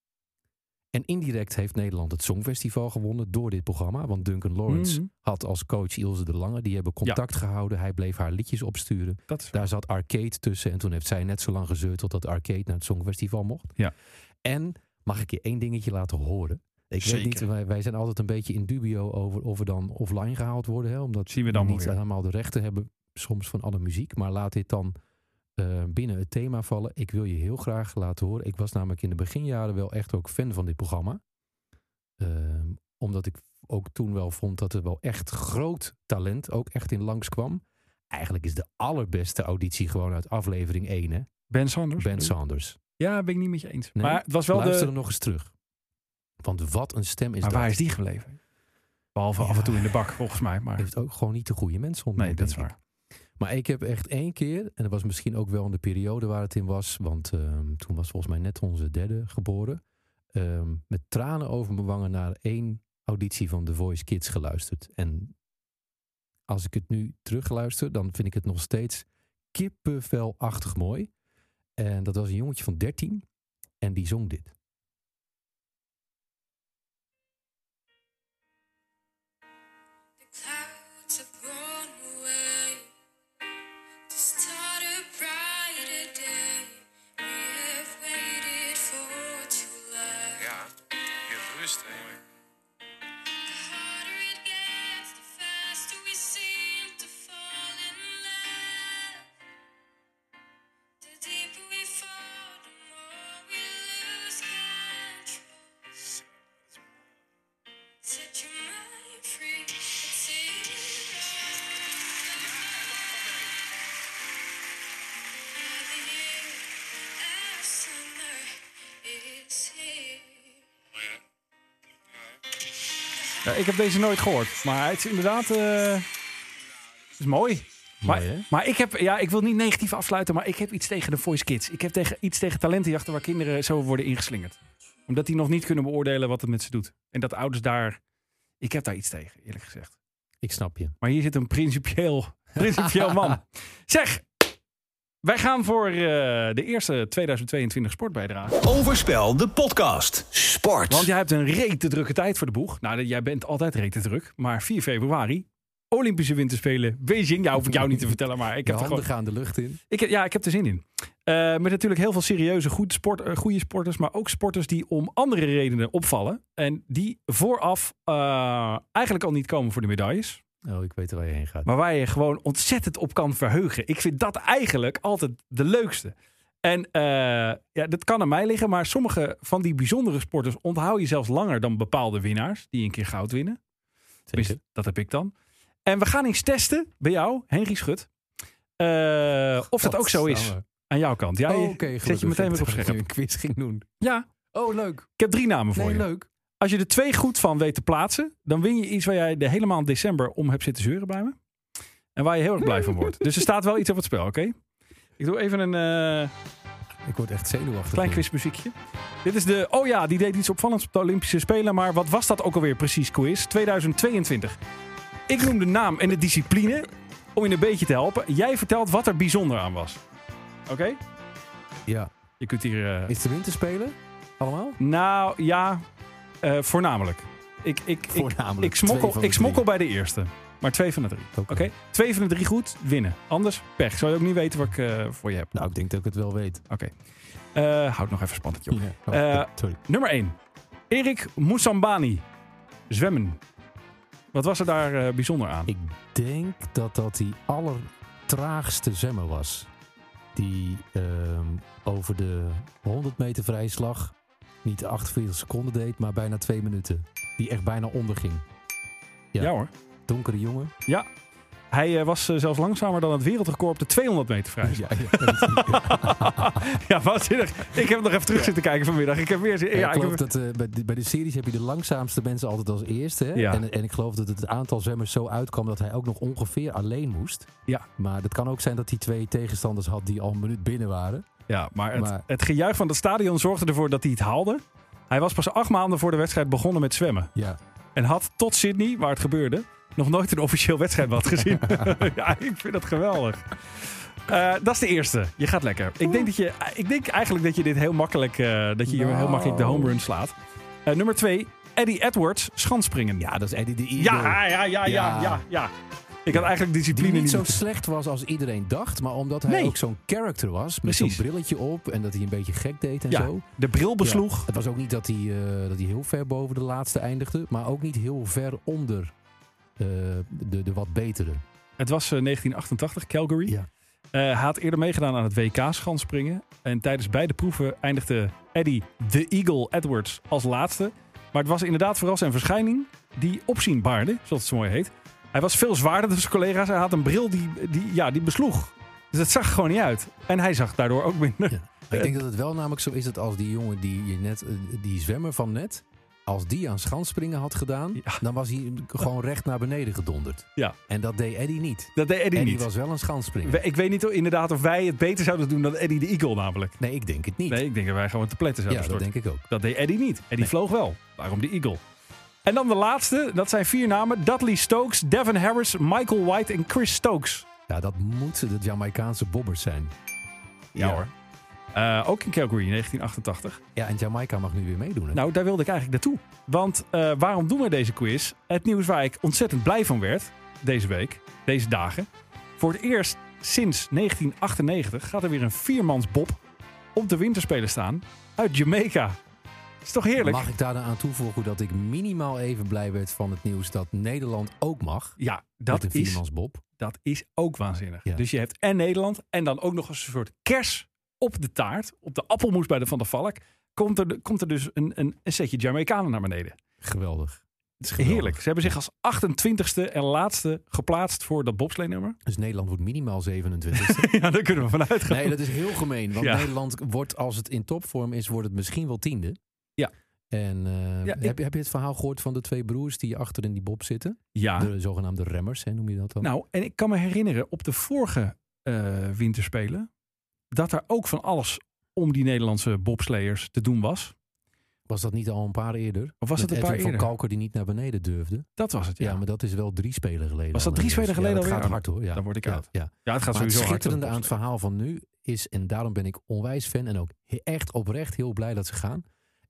[SPEAKER 4] En indirect heeft Nederland het Songfestival gewonnen door dit programma. Want Duncan Lawrence
[SPEAKER 3] Mhm.
[SPEAKER 4] had als coach Ilse de Lange. Die hebben contact gehouden. Hij bleef haar liedjes opsturen.
[SPEAKER 3] Dat is...
[SPEAKER 4] Daar zat Arcade tussen. En toen heeft zij net zo lang gezeurd totdat Arcade naar het Songfestival mocht.
[SPEAKER 3] Ja.
[SPEAKER 4] En mag ik je één dingetje laten horen? Ik
[SPEAKER 3] Zeker.
[SPEAKER 4] weet niet, wij, wij zijn altijd een beetje in dubio over of we dan offline gehaald worden. Hè, omdat
[SPEAKER 3] Zien we dan wel
[SPEAKER 4] niet
[SPEAKER 3] weer.
[SPEAKER 4] helemaal de rechten hebben soms van alle muziek. Maar laat dit dan eh, binnen het thema vallen. Ik wil je heel graag laten horen. Ik was namelijk in de beginjaren wel echt ook fan van dit programma. Ehm, omdat ik ook toen wel vond dat er wel echt groot talent ook echt in langskwam. Eigenlijk is de allerbeste auditie gewoon uit aflevering 1, hè?
[SPEAKER 3] Ben Sanders?
[SPEAKER 4] Ben Sanders.
[SPEAKER 3] Ja, ben ik niet met je eens.
[SPEAKER 4] Nee?
[SPEAKER 3] Maar het was wel
[SPEAKER 4] Luister
[SPEAKER 3] de...
[SPEAKER 4] hem nog eens terug. Want wat een stem is
[SPEAKER 3] Maar
[SPEAKER 4] dat.
[SPEAKER 3] waar is die gebleven? Behalve af en toe in de bak, volgens mij. Maar...
[SPEAKER 4] Heeft ook gewoon niet de goede mensen ontmoet.
[SPEAKER 3] Nee, dat is
[SPEAKER 4] denk ik.
[SPEAKER 3] waar.
[SPEAKER 4] Maar ik heb echt één keer, en dat was misschien ook wel in de periode waar het in was, want ehm, toen was volgens mij net onze derde geboren, ehm, met tranen over mijn wangen naar één auditie van The Voice Kids geluisterd. En als ik het nu terugluister, dan vind ik het nog steeds kippenvelachtig mooi. En dat was een jongetje van 13 en die zong dit.
[SPEAKER 5] The clouds have gone away to start a brighter day. We have
[SPEAKER 6] even rust, hè, jongen.
[SPEAKER 5] The harder it gets, the faster we seem to fall in love. The deeper we fall, the more we lose control. Set your mind free and the year of summer is here.
[SPEAKER 6] Oh ja.
[SPEAKER 3] Ja, ik heb deze nooit gehoord. Maar het is inderdaad. eh, het is mooi. Maar,
[SPEAKER 4] Mooi, hè?
[SPEAKER 3] maar ik heb, ja, ik wil niet negatief afsluiten, maar ik heb iets tegen de Voice Kids. Ik heb tegen, iets tegen talentenjachten waar kinderen zo worden ingeslingerd. Omdat die nog niet kunnen beoordelen wat het met ze doet. En dat ouders daar, ik heb daar iets tegen, eerlijk gezegd.
[SPEAKER 4] Ik snap je.
[SPEAKER 3] Maar hier zit een principieel, principieel man. Zeg, wij gaan voor eh, de eerste 2022 sportbijdrage.
[SPEAKER 1] Overspel, de podcast.
[SPEAKER 2] Sport.
[SPEAKER 3] Want jij hebt een rete drukke tijd voor de boeg. Nou, jij bent altijd rete druk. Maar 4 februari, Olympische Winterspelen, Beijing. Ja, hoef ik jou niet te vertellen, maar ik
[SPEAKER 4] De
[SPEAKER 3] heb er
[SPEAKER 4] handen
[SPEAKER 3] gewoon...
[SPEAKER 4] gaan de lucht in.
[SPEAKER 3] Ik, heb- ja, ik heb er zin in. Eh, met natuurlijk heel veel serieuze goed sport, eh, goede sporters, maar ook sporters die om andere redenen opvallen. En die vooraf eh, eigenlijk al niet komen voor de medailles.
[SPEAKER 4] Oh, ik weet waar je heen gaat.
[SPEAKER 3] Maar waar je gewoon ontzettend op kan verheugen. Ik vind dat eigenlijk altijd de leukste. En eh, ja, dat kan aan mij liggen, maar sommige van die bijzondere sporters onthoud je zelfs langer dan bepaalde winnaars die een keer goud winnen. Tenminste,
[SPEAKER 4] Zeker.
[SPEAKER 3] dat heb ik dan. En we gaan eens testen bij jou, Henry Schut, eh, of dat ook zo is
[SPEAKER 4] Godsamme.
[SPEAKER 3] aan jouw kant. Ja,
[SPEAKER 4] Oh,
[SPEAKER 3] je-
[SPEAKER 4] Oké,
[SPEAKER 3] zet je meteen
[SPEAKER 4] gelukkig.
[SPEAKER 3] weer
[SPEAKER 4] Ik
[SPEAKER 3] op
[SPEAKER 4] dacht dat
[SPEAKER 3] scherp.
[SPEAKER 4] je een quiz ging doen.
[SPEAKER 3] Ja,
[SPEAKER 4] Oh, leuk.
[SPEAKER 3] ik heb drie namen voor
[SPEAKER 4] Nee,
[SPEAKER 3] je.
[SPEAKER 4] leuk.
[SPEAKER 3] Als je er twee goed van weet te plaatsen, dan win je iets waar jij de hele maand december om hebt zitten zeuren bij me. En waar je heel erg blij van wordt. Dus er staat wel iets op het spel, oké? Ik doe even een eh,
[SPEAKER 4] Ik word echt zenuwachtig.
[SPEAKER 3] klein
[SPEAKER 4] nu.
[SPEAKER 3] quizmuziekje. Dit is de, oh ja, die deed iets opvallends op de Olympische Spelen, maar wat was dat ook alweer precies, quiz? 2022. Ik noem de naam en de discipline om je een beetje te helpen. Jij vertelt wat er bijzonder aan was. Oké?
[SPEAKER 4] Ja.
[SPEAKER 3] Je kunt hier... eh,
[SPEAKER 4] Is de winter spelen? Allemaal?
[SPEAKER 3] nou ja, eh, voornamelijk. Ik, ik, ik,
[SPEAKER 4] Voornamelijk.
[SPEAKER 3] Ik
[SPEAKER 4] twee van
[SPEAKER 3] smokkel,
[SPEAKER 4] de
[SPEAKER 3] ik smokkel bij de eerste. Maar twee van de drie.
[SPEAKER 4] drie.
[SPEAKER 3] Oké? Twee van de drie goed, winnen. Anders pech. Zou je ook niet weten wat ik eh, voor je heb.
[SPEAKER 4] Nou, ik denk dat ik het wel weet.
[SPEAKER 3] Oké. Eh, houd nog even spannend, joh.
[SPEAKER 4] Ja. Oh,
[SPEAKER 3] Eh,
[SPEAKER 4] sorry.
[SPEAKER 3] Nummer 1. Erik Moussambani. Zwemmen. Wat was er daar eh, bijzonder aan?
[SPEAKER 4] Ik denk dat dat die allertraagste zwemmer was. Die ehm, over de 100 meter vrijslag niet 48 seconden deed, maar bijna 2 minuten. Die echt bijna onderging.
[SPEAKER 3] Ja.
[SPEAKER 4] ja.
[SPEAKER 3] hoor.
[SPEAKER 4] Donkere jongen.
[SPEAKER 3] Hij eh, was eh, zelfs langzamer dan het wereldrecord op de 200 meter vrij.
[SPEAKER 4] Ja, ja.
[SPEAKER 3] ja, waanzinnig. Ik heb nog even terug zitten kijken vanmiddag. Ik heb weer zin-
[SPEAKER 4] Ja,
[SPEAKER 3] ja,
[SPEAKER 4] ik
[SPEAKER 3] ik
[SPEAKER 4] geloof
[SPEAKER 3] heb,
[SPEAKER 4] dat eh, bij, de, bij de series heb je de langzaamste mensen altijd als eerste. hè?
[SPEAKER 3] Ja.
[SPEAKER 4] En, en ik geloof dat het aantal zwemmers zo uitkwam dat hij ook nog ongeveer alleen moest.
[SPEAKER 3] Ja.
[SPEAKER 4] Maar dat kan ook zijn dat hij twee tegenstanders had die al een minuut binnen waren.
[SPEAKER 3] ja, maar het,
[SPEAKER 4] maar-
[SPEAKER 3] het gejuich van het stadion zorgde ervoor dat hij het haalde. Hij was pas acht maanden voor de wedstrijd begonnen met zwemmen.
[SPEAKER 4] Ja.
[SPEAKER 3] En had tot Sydney, waar het gebeurde, nog nooit een officieel wedstrijdbad gezien. ja, ik vind dat geweldig. Eh, dat is de eerste. Je gaat lekker. Ik denk, dat je, ik denk eigenlijk dat je dit heel makkelijk, eh, dat je hier heel
[SPEAKER 4] Nou.
[SPEAKER 3] makkelijk de home run slaat. Eh, nummer twee, Eddie Edwards, schanspringen.
[SPEAKER 4] Ja, dat is Eddie de Eagle.
[SPEAKER 3] ja, ja, ja, ja,
[SPEAKER 4] Ja.
[SPEAKER 3] ja. ja. Ik had eigenlijk
[SPEAKER 4] Die
[SPEAKER 3] discipline
[SPEAKER 4] niet
[SPEAKER 3] niet.
[SPEAKER 4] zo
[SPEAKER 3] moeten-
[SPEAKER 4] slecht was als iedereen dacht, maar omdat hij
[SPEAKER 3] Nee.
[SPEAKER 4] ook zo'n character was. Met zo'n
[SPEAKER 3] Precies.
[SPEAKER 4] brilletje op en dat hij een beetje gek deed en
[SPEAKER 3] Ja,
[SPEAKER 4] zo.
[SPEAKER 3] de bril
[SPEAKER 4] Ja.
[SPEAKER 3] besloeg.
[SPEAKER 4] Het was ook niet dat hij, eh, dat hij heel ver boven de laatste eindigde, maar ook niet heel ver onder eh, de, de wat betere.
[SPEAKER 3] Het was eh, 1988, Calgary.
[SPEAKER 4] Ja.
[SPEAKER 3] Eh, hij had eerder meegedaan aan het WK schanspringen. En tijdens beide proeven eindigde Eddie The Eagle Edwards als laatste. Maar het was inderdaad vooral zijn verschijning die opzien baarde, zoals het zo mooi heet. Hij was veel zwaarder dan zijn collega's. Hij had een bril die, die, ja, die besloeg. Dus dat zag er gewoon niet uit. En hij zag daardoor ook minder.
[SPEAKER 4] Maar ik
[SPEAKER 3] Eh,
[SPEAKER 4] denk dat het wel namelijk zo is dat als die jongen, die, je net, eh, die zwemmer van net, als die aan schansspringen had gedaan,
[SPEAKER 3] Ja.
[SPEAKER 4] dan was hij gewoon recht naar beneden gedonderd.
[SPEAKER 3] Ja.
[SPEAKER 4] En dat deed Eddie niet.
[SPEAKER 3] Dat deed Eddie
[SPEAKER 4] Eddie
[SPEAKER 3] niet.
[SPEAKER 4] was wel een schansspringer.
[SPEAKER 3] We- Ik weet niet of- inderdaad of wij het beter zouden doen dan Eddie The Eagle namelijk.
[SPEAKER 4] Nee, ik denk het niet.
[SPEAKER 3] Nee, ik denk dat wij gewoon te pletten
[SPEAKER 4] ja,
[SPEAKER 3] zouden
[SPEAKER 4] dat
[SPEAKER 3] storten.
[SPEAKER 4] denk ik ook.
[SPEAKER 3] Dat deed Eddie niet. Eddie vloog wel. Waarom de Eagle? En dan de laatste. Dat zijn vier namen. Dudley Stokes, Devin Harris, Michael White en Chris Stokes.
[SPEAKER 4] Ja, dat moeten de Jamaicaanse bobbers zijn.
[SPEAKER 3] Ja, hoor. Eh, ook in Calgary in 1988.
[SPEAKER 4] Ja, en Jamaica mag nu weer meedoen. hè?
[SPEAKER 3] Nou, daar wilde ik eigenlijk naartoe. Want eh, waarom doen we deze quiz? Het nieuws waar ik ontzettend blij van werd deze week, deze dagen. Voor het eerst sinds 1998 gaat er weer een viermans bob op de winterspelen staan uit Jamaica. Is toch heerlijk?
[SPEAKER 4] Mag ik daar dan aan toevoegen dat ik minimaal even blij werd van het nieuws dat Nederland ook mag?
[SPEAKER 3] Ja,
[SPEAKER 4] met
[SPEAKER 3] dat
[SPEAKER 4] een
[SPEAKER 3] is,
[SPEAKER 4] viermans Bob.
[SPEAKER 3] dat is ook waanzinnig.
[SPEAKER 4] Ja.
[SPEAKER 3] Dus je hebt en Nederland en dan ook nog eens een soort kers op de taart. Op de appelmoes bij de Van der Valk. Komt er, komt er dus een, een, een setje Jamaicanen naar beneden.
[SPEAKER 4] Geweldig.
[SPEAKER 3] Het is
[SPEAKER 4] Geweldig.
[SPEAKER 3] heerlijk. Ze hebben zich als 28ste en laatste geplaatst voor dat bobsleennummer.
[SPEAKER 4] Dus Nederland wordt minimaal 27.
[SPEAKER 3] ja, daar kunnen we vanuit gaan.
[SPEAKER 4] Nee, dat is heel gemeen. Want
[SPEAKER 3] Ja.
[SPEAKER 4] Nederland wordt, als het in topvorm is, wordt het misschien wel tiende.
[SPEAKER 3] Ja.
[SPEAKER 4] En eh,
[SPEAKER 3] Ja, ik-
[SPEAKER 4] heb, heb je het verhaal gehoord van de twee broers die achter in die bob zitten?
[SPEAKER 3] ja.
[SPEAKER 4] De zogenaamde remmers, hè, noem je dat dan?
[SPEAKER 3] Ah. Nou, en ik kan me herinneren op de vorige eh, winterspelen dat er ook van alles om die Nederlandse bobsleiers te doen was.
[SPEAKER 4] Was dat niet al een paar eerder?
[SPEAKER 3] Of was
[SPEAKER 4] Met
[SPEAKER 3] het een paar
[SPEAKER 4] Edwin
[SPEAKER 3] eerder?
[SPEAKER 4] van Kalker die niet naar beneden durfde.
[SPEAKER 3] Dat was het,
[SPEAKER 4] Ja,
[SPEAKER 3] ja.
[SPEAKER 4] maar dat is wel drie spelen geleden.
[SPEAKER 3] Was dat
[SPEAKER 4] al
[SPEAKER 3] drie spelen
[SPEAKER 4] inmiddels.
[SPEAKER 3] geleden
[SPEAKER 4] Ja, dat
[SPEAKER 3] alweer?
[SPEAKER 4] gaat hard hoor. Ja.
[SPEAKER 3] Dan word ik
[SPEAKER 4] ja,
[SPEAKER 3] uit.
[SPEAKER 4] Ja.
[SPEAKER 3] Ja, het gaat
[SPEAKER 4] Maar het
[SPEAKER 3] sowieso hard.
[SPEAKER 4] schitterende
[SPEAKER 3] dat
[SPEAKER 4] aan het
[SPEAKER 3] bobsleien.
[SPEAKER 4] verhaal van nu is, en daarom ben ik onwijs fan en ook he- echt oprecht heel blij dat ze gaan,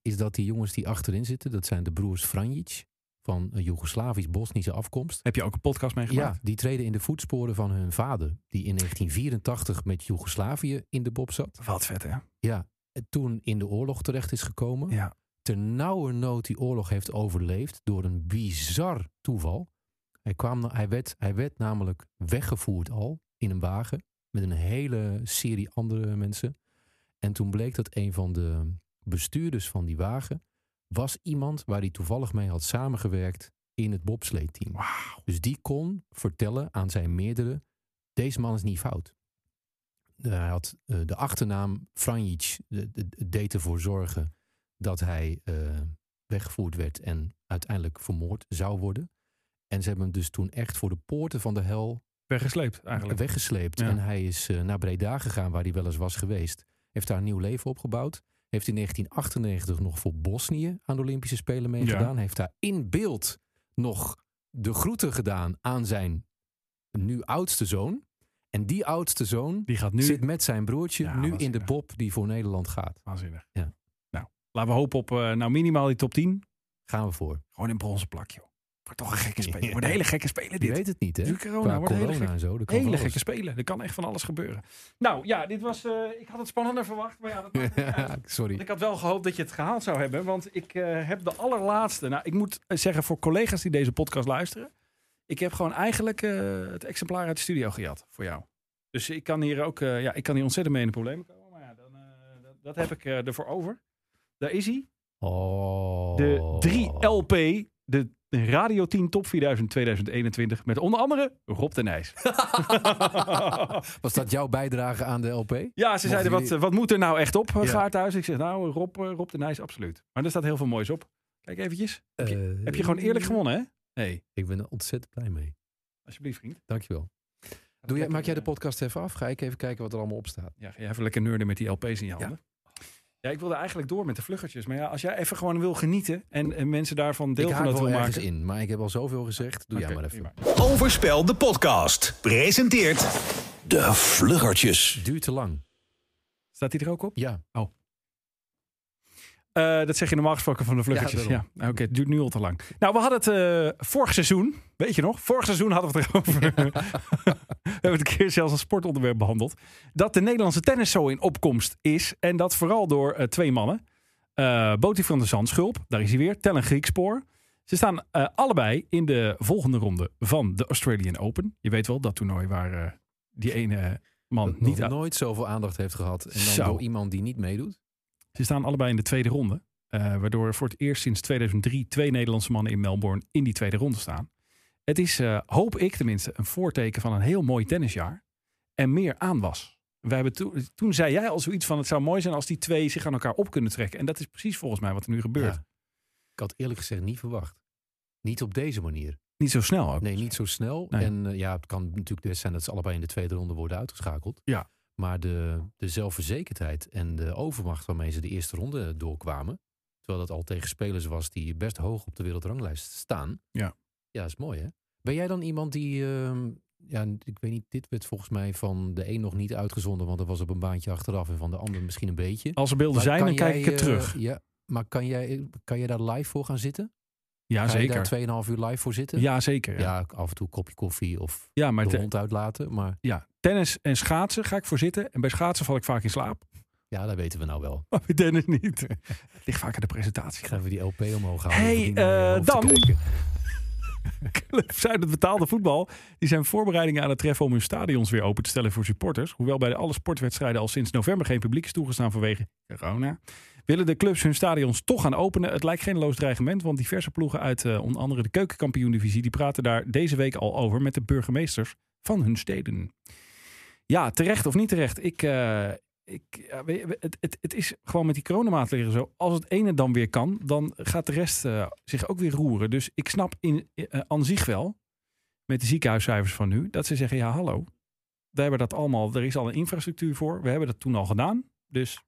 [SPEAKER 4] is dat die jongens die achterin zitten, dat zijn de broers Franjic van eh, Joegoslavisch-Bosnische afkomst.
[SPEAKER 3] Heb je ook een podcast meegemaakt?
[SPEAKER 4] Ja, die treden in de voetsporen van hun vader, die in 1984 met Joegoslavië in de bob zat.
[SPEAKER 3] Wat vet, hè?
[SPEAKER 4] En toen in de oorlog terecht is gekomen.
[SPEAKER 3] Ja.
[SPEAKER 4] Ternauwernood die oorlog heeft overleefd door een bizar toeval. Hij, kwam, na- hij, werd, hij werd namelijk weggevoerd al in een wagen met een hele serie andere mensen. En toen bleek dat een van de bestuurders van die wagen was iemand waar hij toevallig mee had samengewerkt in het bobsleeteam.
[SPEAKER 3] Wauw.
[SPEAKER 4] Dus die kon vertellen aan zijn meerdere, deze man is niet fout. Eh, Hij had eh, de achternaam Franjic de- de- de- deed ervoor zorgen dat hij eh, weggevoerd werd en uiteindelijk vermoord zou worden. En ze hebben hem dus toen echt voor de poorten van de hel
[SPEAKER 3] Weggesleept, eigenlijk.
[SPEAKER 4] weggesleept.
[SPEAKER 3] Ja.
[SPEAKER 4] En hij is eh, naar Breda gegaan, waar hij wel eens was geweest. Heeft daar een nieuw leven opgebouwd. Heeft in 1998 nog voor Bosnië aan de Olympische Spelen meegedaan. Heeft daar in beeld nog de groeten gedaan aan zijn nu oudste zoon. En die oudste zoon
[SPEAKER 3] Die gaat nu...
[SPEAKER 4] zit met zijn broertje
[SPEAKER 3] Ja,
[SPEAKER 4] nu in de
[SPEAKER 3] waanzinnig.
[SPEAKER 4] bob die voor Nederland gaat.
[SPEAKER 3] Waanzinnig.
[SPEAKER 4] Ja.
[SPEAKER 3] Nou, laten we hopen op eh, nou minimaal die top 10.
[SPEAKER 4] Gaan we voor.
[SPEAKER 3] Gewoon in bronzen plak, joh. Wordt toch een gekke speler. Wordt een
[SPEAKER 4] Ja.
[SPEAKER 3] hele gekke speler,
[SPEAKER 4] Je
[SPEAKER 3] dit.
[SPEAKER 4] weet het niet, hè?
[SPEAKER 3] Nu corona
[SPEAKER 4] Qua
[SPEAKER 3] wordt een hele
[SPEAKER 4] corona
[SPEAKER 3] gek-
[SPEAKER 4] en zo. dat kan van
[SPEAKER 3] Hele
[SPEAKER 4] alles.
[SPEAKER 3] gekke spelen. Er kan echt van alles gebeuren. Nou ja, dit was. eh, ik had het spannender verwacht. Maar ja, dat maakt niet uit.
[SPEAKER 4] Ja,
[SPEAKER 3] Want
[SPEAKER 4] Sorry.
[SPEAKER 3] Ik had wel gehoopt dat je het gehaald zou hebben. Want ik eh, heb de allerlaatste. Nou, ik moet eh, zeggen voor collega's die deze podcast luisteren. Ik heb gewoon eigenlijk eh, het exemplaar uit de studio gejat voor jou. Dus ik kan hier ook. eh, ja, ik kan hier ontzettend mee in de problemen komen. Maar ja, dan, eh, dat, dat heb ik eh, ervoor over. Daar is hij.
[SPEAKER 4] Oh.
[SPEAKER 3] De 3LP. De Radio 10 Top 4000 2021. Met onder andere Rob de Nijs.
[SPEAKER 4] Was dat jouw bijdrage aan de LP?
[SPEAKER 3] Ja, ze zeiden, wat,
[SPEAKER 4] jullie-
[SPEAKER 3] eh, wat moet er nou echt op, eh,
[SPEAKER 4] Ja.
[SPEAKER 3] Gaarthuis? Ik zeg, nou, eh, Rob, eh, Rob de Nijs, absoluut. Maar er staat heel veel moois op. Kijk eventjes. Heb je,
[SPEAKER 4] Eh,
[SPEAKER 3] heb je gewoon eerlijk gewonnen, hè? Nee,
[SPEAKER 4] Ik ben er ontzettend blij mee.
[SPEAKER 3] alsjeblieft, vriend.
[SPEAKER 4] Dankjewel. Doe jij,
[SPEAKER 3] Lekker,
[SPEAKER 4] maak jij de
[SPEAKER 3] eh,
[SPEAKER 4] podcast even af? Ga ik even kijken wat er allemaal op staat.
[SPEAKER 3] Ja, ga jij even lekker neurden met die LP's in je handen. Ja. ik wilde eigenlijk door met de vluggertjes. Maar ja, als jij even gewoon wil genieten en, en mensen daarvan
[SPEAKER 4] ik haak
[SPEAKER 3] deelgenoot
[SPEAKER 4] wel
[SPEAKER 3] wil
[SPEAKER 4] ergens
[SPEAKER 3] maken...
[SPEAKER 4] in, maar ik heb al zoveel gezegd. Doe
[SPEAKER 3] Oké,
[SPEAKER 4] jij maar even.
[SPEAKER 3] prima.
[SPEAKER 1] Overspel de podcast. Presenteert
[SPEAKER 2] De Vluggertjes.
[SPEAKER 4] Duurt te lang.
[SPEAKER 3] Staat die er ook op?
[SPEAKER 4] Ja.
[SPEAKER 3] Eh, dat zeg je normaal gesproken van de vluggetjes. Ja,
[SPEAKER 4] Ja, daarom.
[SPEAKER 3] oké, het duurt nu al te lang. Nou, we hadden het eh, vorig seizoen, weet je nog? Vorig seizoen hadden we het erover. we hebben het een keer zelfs als sportonderwerp behandeld. Dat de Nederlandse tennis zo in opkomst is. En dat vooral door eh, twee mannen. Eh Boti van der Zandschulp, daar is hij weer. Tellen Griekspoor. Ze staan eh, allebei in de volgende ronde van de Australian Open. Je weet wel, dat toernooi waar eh, die ene man
[SPEAKER 4] Dat
[SPEAKER 3] niet
[SPEAKER 4] nog nooit zoveel aandacht heeft gehad. En dan
[SPEAKER 3] Zo.
[SPEAKER 4] door iemand die niet meedoet.
[SPEAKER 3] Ze staan allebei in de tweede ronde. eh, waardoor voor het eerst sinds 2003 twee Nederlandse mannen in Melbourne in die tweede ronde staan. Het is, eh, hoop ik tenminste, een voorteken van een heel mooi tennisjaar. En meer aanwas. Wij hebben to- toen zei jij al zoiets van het zou mooi zijn als die twee zich aan elkaar op kunnen trekken. En dat is precies volgens mij wat er nu gebeurt.
[SPEAKER 4] Ja. Ik had eerlijk gezegd niet verwacht. Niet op deze manier.
[SPEAKER 3] Niet zo snel ook. dus-
[SPEAKER 4] Nee, niet zo snel.
[SPEAKER 3] Nee.
[SPEAKER 4] En eh, ja, het kan natuurlijk best zijn dat ze allebei in de tweede ronde worden uitgeschakeld.
[SPEAKER 3] Ja.
[SPEAKER 4] Maar de, de zelfverzekerdheid en de overmacht waarmee ze de eerste ronde doorkwamen. Terwijl dat al tegen spelers was die best hoog op de wereldranglijst staan.
[SPEAKER 3] Ja.
[SPEAKER 4] Ja, is mooi hè. Ben jij dan iemand die, ehm, ja, ik weet niet, dit werd volgens mij van de een nog niet uitgezonden. Want dat was op een baantje achteraf en van de ander misschien een beetje.
[SPEAKER 3] Als er beelden
[SPEAKER 4] Maar
[SPEAKER 3] zijn,
[SPEAKER 4] kan
[SPEAKER 3] dan kijk
[SPEAKER 4] jij,
[SPEAKER 3] ik het
[SPEAKER 4] eh,
[SPEAKER 3] terug.
[SPEAKER 4] Ja, maar kan jij, kan jij daar live voor gaan zitten?
[SPEAKER 3] Ja,
[SPEAKER 4] Ga je
[SPEAKER 3] zeker.
[SPEAKER 4] daar 2,5 uur live voor zitten?
[SPEAKER 3] Ja, zeker. Ja,
[SPEAKER 4] Ja, af en toe een kopje koffie of
[SPEAKER 3] ja maar
[SPEAKER 4] de
[SPEAKER 3] te-
[SPEAKER 4] hond uitlaten. Maar
[SPEAKER 3] ja, tennis en schaatsen ga ik voor zitten. En bij schaatsen val ik vaak in slaap.
[SPEAKER 4] Ja, dat weten we nou wel.
[SPEAKER 3] Maar bij Dennis niet. Het ligt vaak aan de presentatie.
[SPEAKER 4] Ik ga even die LP omhoog halen.
[SPEAKER 3] Hey,
[SPEAKER 4] om die naar je
[SPEAKER 3] eh,
[SPEAKER 4] hoofd te
[SPEAKER 3] Dam.
[SPEAKER 4] kijken.
[SPEAKER 3] Club Zuid, het betaalde voetbal, die zijn voorbereidingen aan het treffen om hun stadions weer open te stellen voor supporters. Hoewel bij de alle sportwedstrijden al sinds november geen publiek is toegestaan vanwege corona, willen de clubs hun stadions toch gaan openen. Het lijkt geen loos dreigement, want diverse ploegen uit eh, onder andere de keukenkampioen-divisie, die praten daar deze week al over met de burgemeesters van hun steden. Ja, terecht of niet terecht. Ik, eh, ik, ja, weet je, het, het, het is gewoon met die coronamaatregelen zo. Als het ene dan weer kan, dan gaat de rest eh, zich ook weer roeren. Dus ik snap in, eh, aan zich wel, met de ziekenhuiscijfers van nu, dat ze zeggen, ja hallo, we hebben dat allemaal, er is al een infrastructuur voor. We hebben dat toen al gedaan. Dus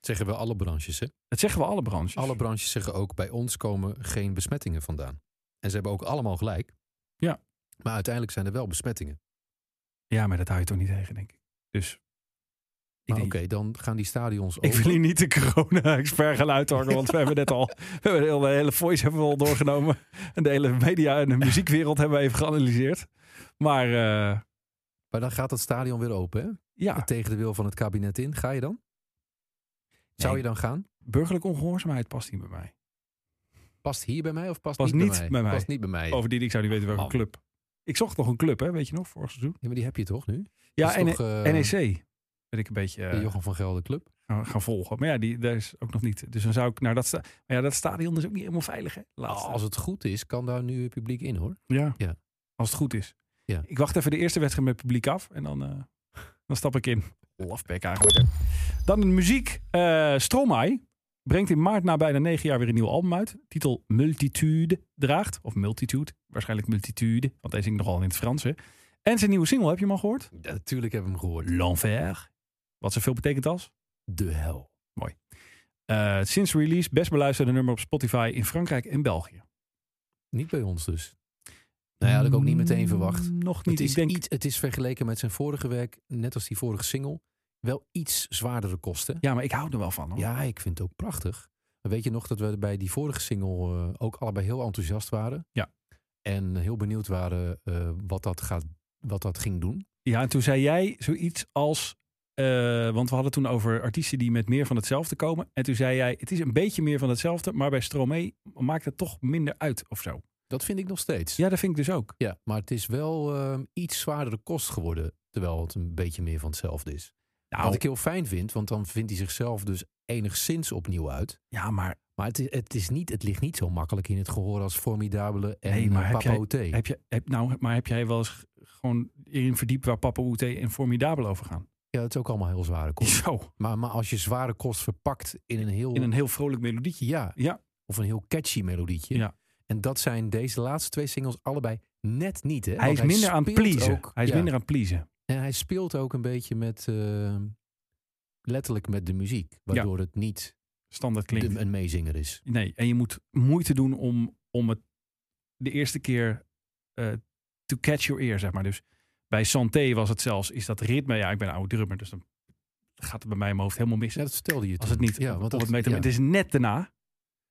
[SPEAKER 4] Zeggen we alle branches, hè?
[SPEAKER 3] dat zeggen we alle branches.
[SPEAKER 4] Alle branches zeggen ook, bij ons komen geen besmettingen vandaan. En ze hebben ook allemaal gelijk.
[SPEAKER 3] Ja.
[SPEAKER 4] Maar uiteindelijk zijn er wel besmettingen.
[SPEAKER 3] ja, maar dat hou je toch niet tegen, denk ik. Dus ik,
[SPEAKER 4] Maar oké,
[SPEAKER 3] denk-
[SPEAKER 4] dan gaan die stadions
[SPEAKER 3] ik
[SPEAKER 4] open.
[SPEAKER 3] wil hier niet de corona-expert gaan uithangen, want we hebben net al, we hebben de hele, de hele voice hebben we al doorgenomen. En de hele media en de muziekwereld hebben we even geanalyseerd. Maar eh,
[SPEAKER 4] Maar dan gaat dat stadion weer open, hè?
[SPEAKER 3] ja,
[SPEAKER 4] Tegen de wil van het kabinet in. Ga je dan? Zou
[SPEAKER 3] Nee.
[SPEAKER 4] je dan gaan?
[SPEAKER 3] burgerlijke ongehoorzaamheid past niet bij mij.
[SPEAKER 4] Past hier bij mij of past,
[SPEAKER 3] Past
[SPEAKER 4] niet,
[SPEAKER 3] niet
[SPEAKER 4] bij, mij?
[SPEAKER 3] bij mij. Oh.
[SPEAKER 4] Past niet bij mij.
[SPEAKER 3] Bovendien, ik zou niet weten welke
[SPEAKER 4] Man.
[SPEAKER 3] club. Ik zocht nog een club, hè, weet je nog, vorig seizoen.
[SPEAKER 4] Ja, maar die heb je toch nu?
[SPEAKER 3] Ja, E en
[SPEAKER 4] toch, eh,
[SPEAKER 3] NEC ben ik een beetje eh,
[SPEAKER 4] De Jochem van Gelder Club.
[SPEAKER 3] gaan, gaan volgen. Maar ja, die, daar is ook nog niet. Dus dan zou ik naar dat, sta maar ja, dat stadion is ook niet helemaal veilig, hè? Laatste.
[SPEAKER 4] Als het goed is, kan daar nu publiek in, hoor.
[SPEAKER 3] ja.
[SPEAKER 4] Ja.
[SPEAKER 3] als het goed is.
[SPEAKER 4] Ja.
[SPEAKER 3] Ik wacht even de eerste wedstrijd met publiek af en dan, eh, dan stap ik in. Lafbek eigenlijk. Dan de muziek. eh Stromae brengt in maart na bijna negen jaar weer een nieuw album uit. Titel Multitude draagt. Of Multitude. Waarschijnlijk Multitude. Want hij zingt nogal in het Frans. hè. En zijn nieuwe single, heb je hem al gehoord?
[SPEAKER 4] Natuurlijk heb ik hem gehoord.
[SPEAKER 3] L'Enfer. Wat zoveel betekent als?
[SPEAKER 4] De hel.
[SPEAKER 3] eh, sinds release best beluisterde nummer op Spotify in Frankrijk en België.
[SPEAKER 4] Niet bij ons dus. Nou ja, had ik ook niet meteen verwacht.
[SPEAKER 3] Mm, Nog
[SPEAKER 4] Het
[SPEAKER 3] niet.
[SPEAKER 4] is,
[SPEAKER 3] Ik denk,
[SPEAKER 4] iets, het is vergeleken met zijn vorige werk, net als die vorige single, wel iets zwaardere kosten.
[SPEAKER 3] ja, maar ik hou er wel van. Hoor.
[SPEAKER 4] Ja, ik vind het ook prachtig. Maar weet je nog dat we bij die vorige single eh, ook allebei heel enthousiast waren?
[SPEAKER 3] Ja.
[SPEAKER 4] En heel benieuwd waren eh, wat, dat gaat, wat dat ging doen.
[SPEAKER 3] Ja, en toen zei jij zoiets als. eh, want we hadden toen over artiesten die met meer van hetzelfde komen. En toen zei jij: het is een beetje meer van hetzelfde, maar bij Stromae maakt het toch minder uit of zo.
[SPEAKER 4] Dat vind ik nog steeds.
[SPEAKER 3] Ja, dat vind ik dus ook.
[SPEAKER 4] Ja, maar het is wel eh, iets zwaardere kost geworden, terwijl het een beetje meer van hetzelfde is.
[SPEAKER 3] Nou,
[SPEAKER 4] Wat ik heel fijn vind, want dan vindt hij zichzelf dus enigszins opnieuw uit.
[SPEAKER 3] ja, maar
[SPEAKER 4] Maar het, is, het, is niet, het ligt niet zo makkelijk in het gehoor als Formidabele en
[SPEAKER 3] Nee,
[SPEAKER 4] nee,
[SPEAKER 3] maar heb jij-
[SPEAKER 4] Papa O.T.
[SPEAKER 3] heb, je, heb, nou, maar heb jij wel eens g- gewoon erin verdiept waar Papa Oete en Formidabel over gaan?
[SPEAKER 4] Ja, het is ook allemaal heel zware kost.
[SPEAKER 3] Zo,
[SPEAKER 4] maar, maar als je zware kost verpakt in een heel...
[SPEAKER 3] in een heel vrolijk melodietje.
[SPEAKER 4] ja,
[SPEAKER 3] Ja.
[SPEAKER 4] Of een heel catchy melodietje.
[SPEAKER 3] Ja.
[SPEAKER 4] En dat zijn deze laatste twee singles allebei net niet. Hè?
[SPEAKER 3] Hij
[SPEAKER 4] Want
[SPEAKER 3] is minder aan het
[SPEAKER 4] speelt
[SPEAKER 3] pleasen.
[SPEAKER 4] ook-
[SPEAKER 3] hij is
[SPEAKER 4] ja.
[SPEAKER 3] minder aan het pleasen.
[SPEAKER 4] En hij speelt ook een beetje met... eh, letterlijk met de muziek. Waardoor het niet
[SPEAKER 3] standaard
[SPEAKER 4] de-
[SPEAKER 3] klinkt.
[SPEAKER 4] een meezinger is.
[SPEAKER 3] Nee, en je moet moeite doen om, om het de eerste keer eh, to catch your ear, zeg maar. Dus bij Santé was het zelfs, is dat ritme, ja, ik ben een oude drummer, dus dan gaat het bij mij in mijn hoofd helemaal mis.
[SPEAKER 4] Ja, dat vertelde je
[SPEAKER 3] Als het
[SPEAKER 4] toen.
[SPEAKER 3] niet
[SPEAKER 4] ja,
[SPEAKER 3] op, op
[SPEAKER 4] dat-
[SPEAKER 3] het meter,
[SPEAKER 4] ja.
[SPEAKER 3] het is net daarna.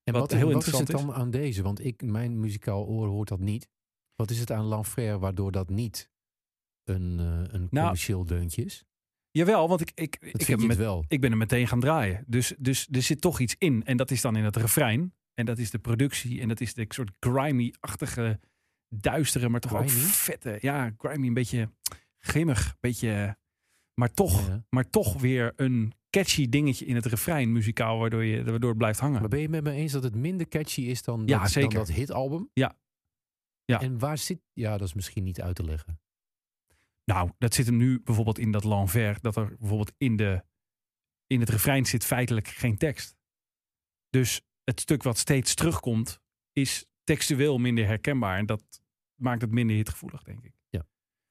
[SPEAKER 4] En
[SPEAKER 3] Wat
[SPEAKER 4] wat,
[SPEAKER 3] heel
[SPEAKER 4] en wat is het
[SPEAKER 3] interessant
[SPEAKER 4] dan aan deze? Want ik, mijn muzikaal oor hoort dat niet. Wat is het aan Lanfraire waardoor dat niet een, eh, een commercieel deuntje is?
[SPEAKER 3] Jawel, want ik, ik,
[SPEAKER 4] Dat
[SPEAKER 3] Nou, ik,
[SPEAKER 4] vind
[SPEAKER 3] heb
[SPEAKER 4] je
[SPEAKER 3] met,
[SPEAKER 4] het wel.
[SPEAKER 3] ik ben er meteen gaan draaien. Dus, dus er zit toch iets in. En dat is dan in het refrein. En dat is de productie. En dat is de soort grimy-achtige, duistere, maar toch ook
[SPEAKER 4] Grimy?
[SPEAKER 3] vette. Ja, grimy, een beetje grimmig. Een beetje, maar, toch,
[SPEAKER 4] Ja.
[SPEAKER 3] maar toch weer een catchy dingetje in het refrein muzikaal, waardoor, je, waardoor het blijft hangen.
[SPEAKER 4] Maar ben je met me eens dat het minder catchy is dan,
[SPEAKER 3] Ja,
[SPEAKER 4] dat,
[SPEAKER 3] zeker.
[SPEAKER 4] dan dat hitalbum?
[SPEAKER 3] Ja. Ja.
[SPEAKER 4] En waar zit... Ja, dat is misschien niet uit te leggen.
[SPEAKER 3] Nou, dat zit hem nu bijvoorbeeld in dat Lanver. Dat er bijvoorbeeld in, de, in het refrein zit feitelijk geen tekst. Dus het stuk wat steeds terugkomt, is textueel minder herkenbaar. En dat maakt het minder hitgevoelig, denk ik.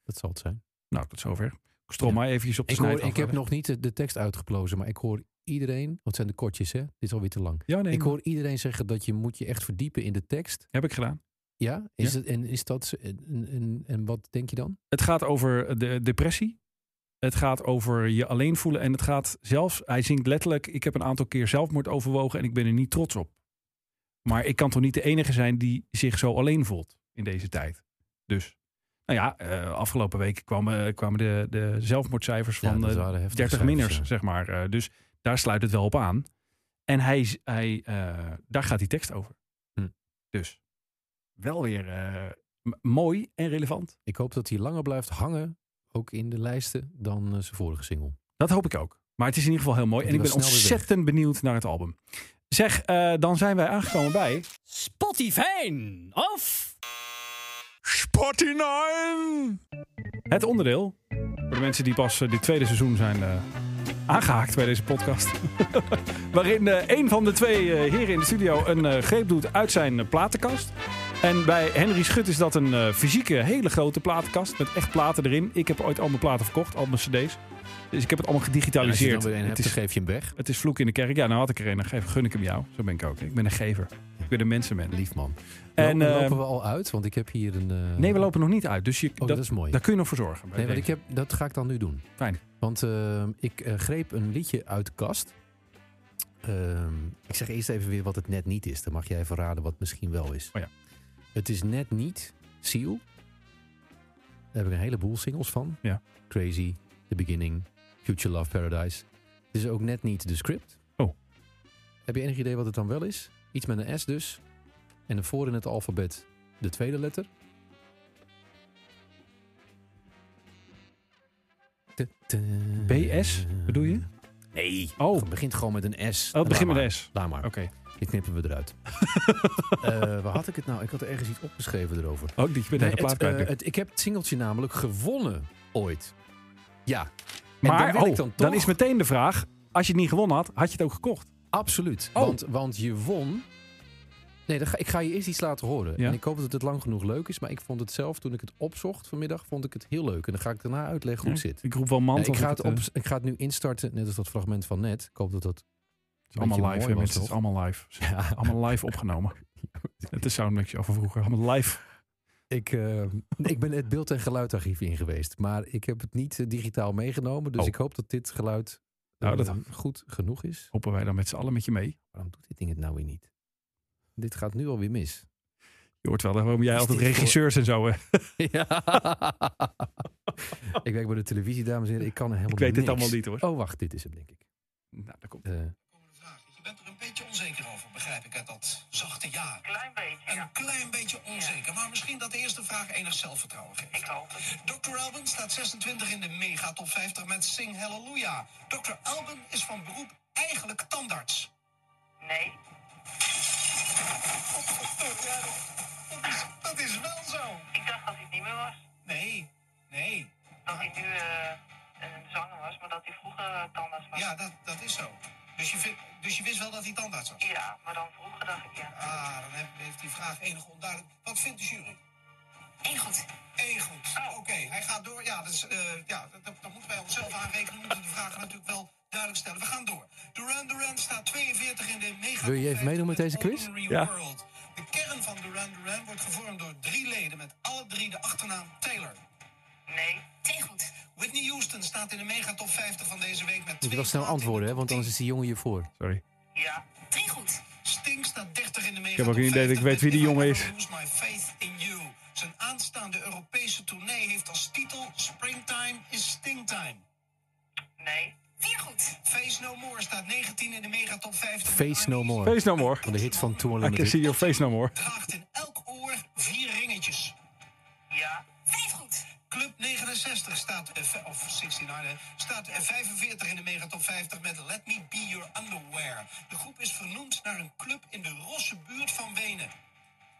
[SPEAKER 4] Dat zal het zijn.
[SPEAKER 3] Nou, tot zover. Strom maar eventjes op de
[SPEAKER 4] Ik, hoor,
[SPEAKER 3] snijd
[SPEAKER 4] ik heb
[SPEAKER 3] afwerken.
[SPEAKER 4] nog niet de, de tekst uitgeplozen, maar ik hoor iedereen... Want het zijn de kortjes, hè? Dit is alweer te lang.
[SPEAKER 3] Ja, nee,
[SPEAKER 4] Ik hoor iedereen zeggen dat je moet je echt verdiepen in de tekst.
[SPEAKER 3] heb ik gedaan.
[SPEAKER 4] Ja? Is Het, en is dat... En, en, en wat denk je dan?
[SPEAKER 3] Het gaat over de depressie. Het gaat over je alleen voelen. En het gaat zelfs, hij zingt letterlijk: Ik heb een aantal keer zelfmoord overwogen en ik ben er niet trots op. Maar ik kan toch niet de enige zijn die zich zo alleen voelt in deze tijd. Dus, nou ja, eh, afgelopen week eh, kwamen, kwamen de, de zelfmoordcijfers
[SPEAKER 4] Ja,
[SPEAKER 3] van
[SPEAKER 4] dat
[SPEAKER 3] eh,
[SPEAKER 4] waren heftige
[SPEAKER 3] 30
[SPEAKER 4] cijfers,
[SPEAKER 3] minners,
[SPEAKER 4] ja.
[SPEAKER 3] zeg maar. Eh, dus Daar sluit het wel op aan. En hij, z- hij, eh, daar gaat die tekst over.
[SPEAKER 4] Hm.
[SPEAKER 3] Dus wel weer eh, m- mooi en relevant.
[SPEAKER 4] Ik hoop dat hij langer blijft hangen, ook in de lijsten, dan eh, zijn vorige single.
[SPEAKER 3] Dat hoop ik ook. Maar het is in ieder geval heel mooi.
[SPEAKER 4] Dat
[SPEAKER 3] En ik
[SPEAKER 4] hij
[SPEAKER 3] ben
[SPEAKER 4] wel snel weer weg.
[SPEAKER 3] ontzettend benieuwd naar het album. Zeg, eh, dan zijn wij aangekomen bij...
[SPEAKER 6] Spotify of
[SPEAKER 3] Het onderdeel. Voor de mensen die pas eh, dit tweede seizoen zijn eh, aangehaakt bij deze podcast. Waarin eh een van de twee eh, heren in de studio een eh, greep doet uit zijn eh, platenkast. En bij Henry Schut is dat een eh, fysieke, hele grote platenkast. Met echt platen erin. Ik heb ooit al mijn platen verkocht, al mijn cd's. Dus ik heb het allemaal
[SPEAKER 4] Als je er
[SPEAKER 3] gedigitaliseerd.
[SPEAKER 4] dan weer een
[SPEAKER 3] het,
[SPEAKER 4] hebt, dan
[SPEAKER 3] is,
[SPEAKER 4] geef je hem weg.
[SPEAKER 3] het is vloek in de kerk. Ja, nou had ik er een. Dan geef- gun ik hem jou. Zo ben ik ook. Ik ben een gever. Ik ben een mensenmens.
[SPEAKER 4] Lief man.
[SPEAKER 3] En,
[SPEAKER 4] En
[SPEAKER 3] eh,
[SPEAKER 4] lopen we al uit, want ik heb hier een... eh,
[SPEAKER 3] Nee, we lopen nog niet uit. Dus je,
[SPEAKER 4] Oh,
[SPEAKER 3] dat,
[SPEAKER 4] dat is mooi.
[SPEAKER 3] daar kun je nog voor zorgen. bij
[SPEAKER 4] Nee, want ik
[SPEAKER 3] deze.
[SPEAKER 4] heb, dat ga ik dan nu doen.
[SPEAKER 3] Fijn.
[SPEAKER 4] Want eh, ik eh, greep een liedje uit de kast. Ehm, ik zeg eerst even weer wat het net niet is. Dan mag jij even raden wat het misschien wel is.
[SPEAKER 3] Oh ja.
[SPEAKER 4] Het is net niet Seal. Daar heb ik een heleboel singles van.
[SPEAKER 3] Ja.
[SPEAKER 4] Crazy, The Beginning, Future Love Paradise. Het is ook net niet The Script.
[SPEAKER 3] Oh.
[SPEAKER 4] Heb je enig idee wat het dan wel is? Iets met een S dus. En een voor in het alfabet de tweede letter. Te- te-
[SPEAKER 3] BS, bedoel je?
[SPEAKER 4] Nee.
[SPEAKER 3] Oh.
[SPEAKER 4] Het begint gewoon met een S.
[SPEAKER 3] Oh, het begint met
[SPEAKER 4] Laat maar.
[SPEAKER 3] een S. Oh.
[SPEAKER 4] Laat maar.
[SPEAKER 3] Oké.
[SPEAKER 4] Dit knippen we eruit. Eh, waar had ik het nou? Ik had er ergens iets opgeschreven erover.
[SPEAKER 3] Ook dat je bent
[SPEAKER 4] Nee,
[SPEAKER 3] naar de plaat
[SPEAKER 4] het,
[SPEAKER 3] kwijt.
[SPEAKER 4] eh,
[SPEAKER 3] bent.
[SPEAKER 4] het- ik heb het singeltje namelijk gewonnen ooit. Ja. en
[SPEAKER 3] maar
[SPEAKER 4] dan wil
[SPEAKER 3] oh,
[SPEAKER 4] ik dan
[SPEAKER 3] dan,
[SPEAKER 4] toch...
[SPEAKER 3] is meteen de vraag: als je het niet gewonnen had, had je het ook gekocht?
[SPEAKER 4] Absoluut.
[SPEAKER 3] Oh.
[SPEAKER 4] Want, want je won. Nee, dan ga, ik ga je eerst iets laten horen.
[SPEAKER 3] Ja.
[SPEAKER 4] En ik hoop dat het lang genoeg leuk is. Maar ik vond het zelf, toen ik het opzocht vanmiddag, vond ik het heel leuk. En dan ga ik daarna uitleggen hoe het zit.
[SPEAKER 3] Ik roep wel man.
[SPEAKER 4] Eh, ik, ga het op, ik ga het nu instarten, net als dat fragment van net. Ik hoop dat dat
[SPEAKER 3] allemaal live, hè,
[SPEAKER 4] mooi was,
[SPEAKER 3] mensen. Het is
[SPEAKER 4] toch?
[SPEAKER 3] allemaal live.
[SPEAKER 4] Ja,
[SPEAKER 3] Allemaal live opgenomen. Het is Soundmixje van vroeger. Allemaal live.
[SPEAKER 4] ik, eh, ik ben het beeld- en geluidarchief in geweest. Maar ik heb het niet eh, digitaal meegenomen. Dus
[SPEAKER 3] Oh.
[SPEAKER 4] ik hoop dat dit geluid
[SPEAKER 3] Nou, dat
[SPEAKER 4] eh, goed genoeg is.
[SPEAKER 3] Hoppen wij dan met z'n allen met je mee.
[SPEAKER 4] Waarom doet dit ding het nou weer niet? Dit gaat nu alweer mis.
[SPEAKER 3] Je hoort wel waarom jij
[SPEAKER 4] Is
[SPEAKER 3] altijd
[SPEAKER 4] dit voor-
[SPEAKER 3] regisseurs en zo. Hè?
[SPEAKER 4] Ja. ik werk bij de televisie, dames en heren. Ik kan er helemaal
[SPEAKER 3] Ik weet dit
[SPEAKER 4] niks.
[SPEAKER 3] allemaal niet hoor.
[SPEAKER 4] Oh, wacht. Dit is hem, denk ik.
[SPEAKER 3] Nou, daar komt.
[SPEAKER 4] Eh,
[SPEAKER 7] Je bent er een beetje onzeker over, begrijp ik uit dat zachte ja. Klein beetje. Een klein beetje onzeker, maar misschien dat de eerste vraag enig zelfvertrouwen geeft. Ik hoop Dr. Alban staat 26 in de mega top 50 met Sing Hallelujah. Dr. Alban is van beroep eigenlijk tandarts.
[SPEAKER 8] Nee.
[SPEAKER 7] Dat is, dat is wel zo.
[SPEAKER 8] Ik dacht dat hij het niet meer was.
[SPEAKER 7] Nee, nee.
[SPEAKER 8] Dat hij nu eh, een zanger was, maar dat hij vroeger eh, tandarts was.
[SPEAKER 7] Ja, dat, dat is zo. Dus je, vind- dus je wist wel dat hij tandarts was?
[SPEAKER 8] Ja, maar dan vroeger dacht ik ja.
[SPEAKER 7] Ah, dan heb- heeft die vraag enige onduidelijk. Wat vindt de jury?
[SPEAKER 8] Eén goed. Oh.
[SPEAKER 7] Eén goed. Oké, hij gaat door. Ja, dus, eh, ja dat, dat, dat moeten wij onszelf aanrekenen. We moeten de vragen natuurlijk wel duidelijk stellen. We gaan door. Duran Duran staat 42 in de mega.
[SPEAKER 4] Wil je even meedoen met deze quiz?
[SPEAKER 3] Ja.
[SPEAKER 7] Ja. World. De kern van Duran Duran wordt gevormd door drie leden met alle drie de achternaam Taylor.
[SPEAKER 8] Nee. Twee goed.
[SPEAKER 7] Whitney Houston staat in de mega top 50 van deze week met.
[SPEAKER 4] moet je wel
[SPEAKER 7] twee
[SPEAKER 4] snel
[SPEAKER 7] platen in de
[SPEAKER 4] antwoorden, hè?
[SPEAKER 7] top
[SPEAKER 4] Want anders is
[SPEAKER 7] 10.
[SPEAKER 4] die jongen je voor.
[SPEAKER 3] Sorry.
[SPEAKER 8] Ja. Drie goed.
[SPEAKER 7] Sting staat 30 in de mega. Ik
[SPEAKER 3] heb ook een idee dat ik weet wie die jongen is.
[SPEAKER 7] Lose my faith in you. Zijn aanstaande Europese tournee heeft als titel Springtime is Stingtime.
[SPEAKER 8] Nee. Vier goed.
[SPEAKER 7] Face No More staat 19 in de megatop 50.
[SPEAKER 4] Face No More.
[SPEAKER 3] Face no more.
[SPEAKER 4] Van de hit van Tour
[SPEAKER 3] I can see
[SPEAKER 4] Limited.
[SPEAKER 3] your face no more.
[SPEAKER 7] Draagt in elk oor vier ringetjes.
[SPEAKER 8] Ja. Vijf goed.
[SPEAKER 7] Club 69 staat, eh, v- of 69, hè, staat eh, 45 in de megatop 50 met Let Me Be Your Underwear. De groep is vernoemd naar een club in de Rosse buurt van Wenen.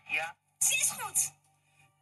[SPEAKER 8] Ja. Zes goed.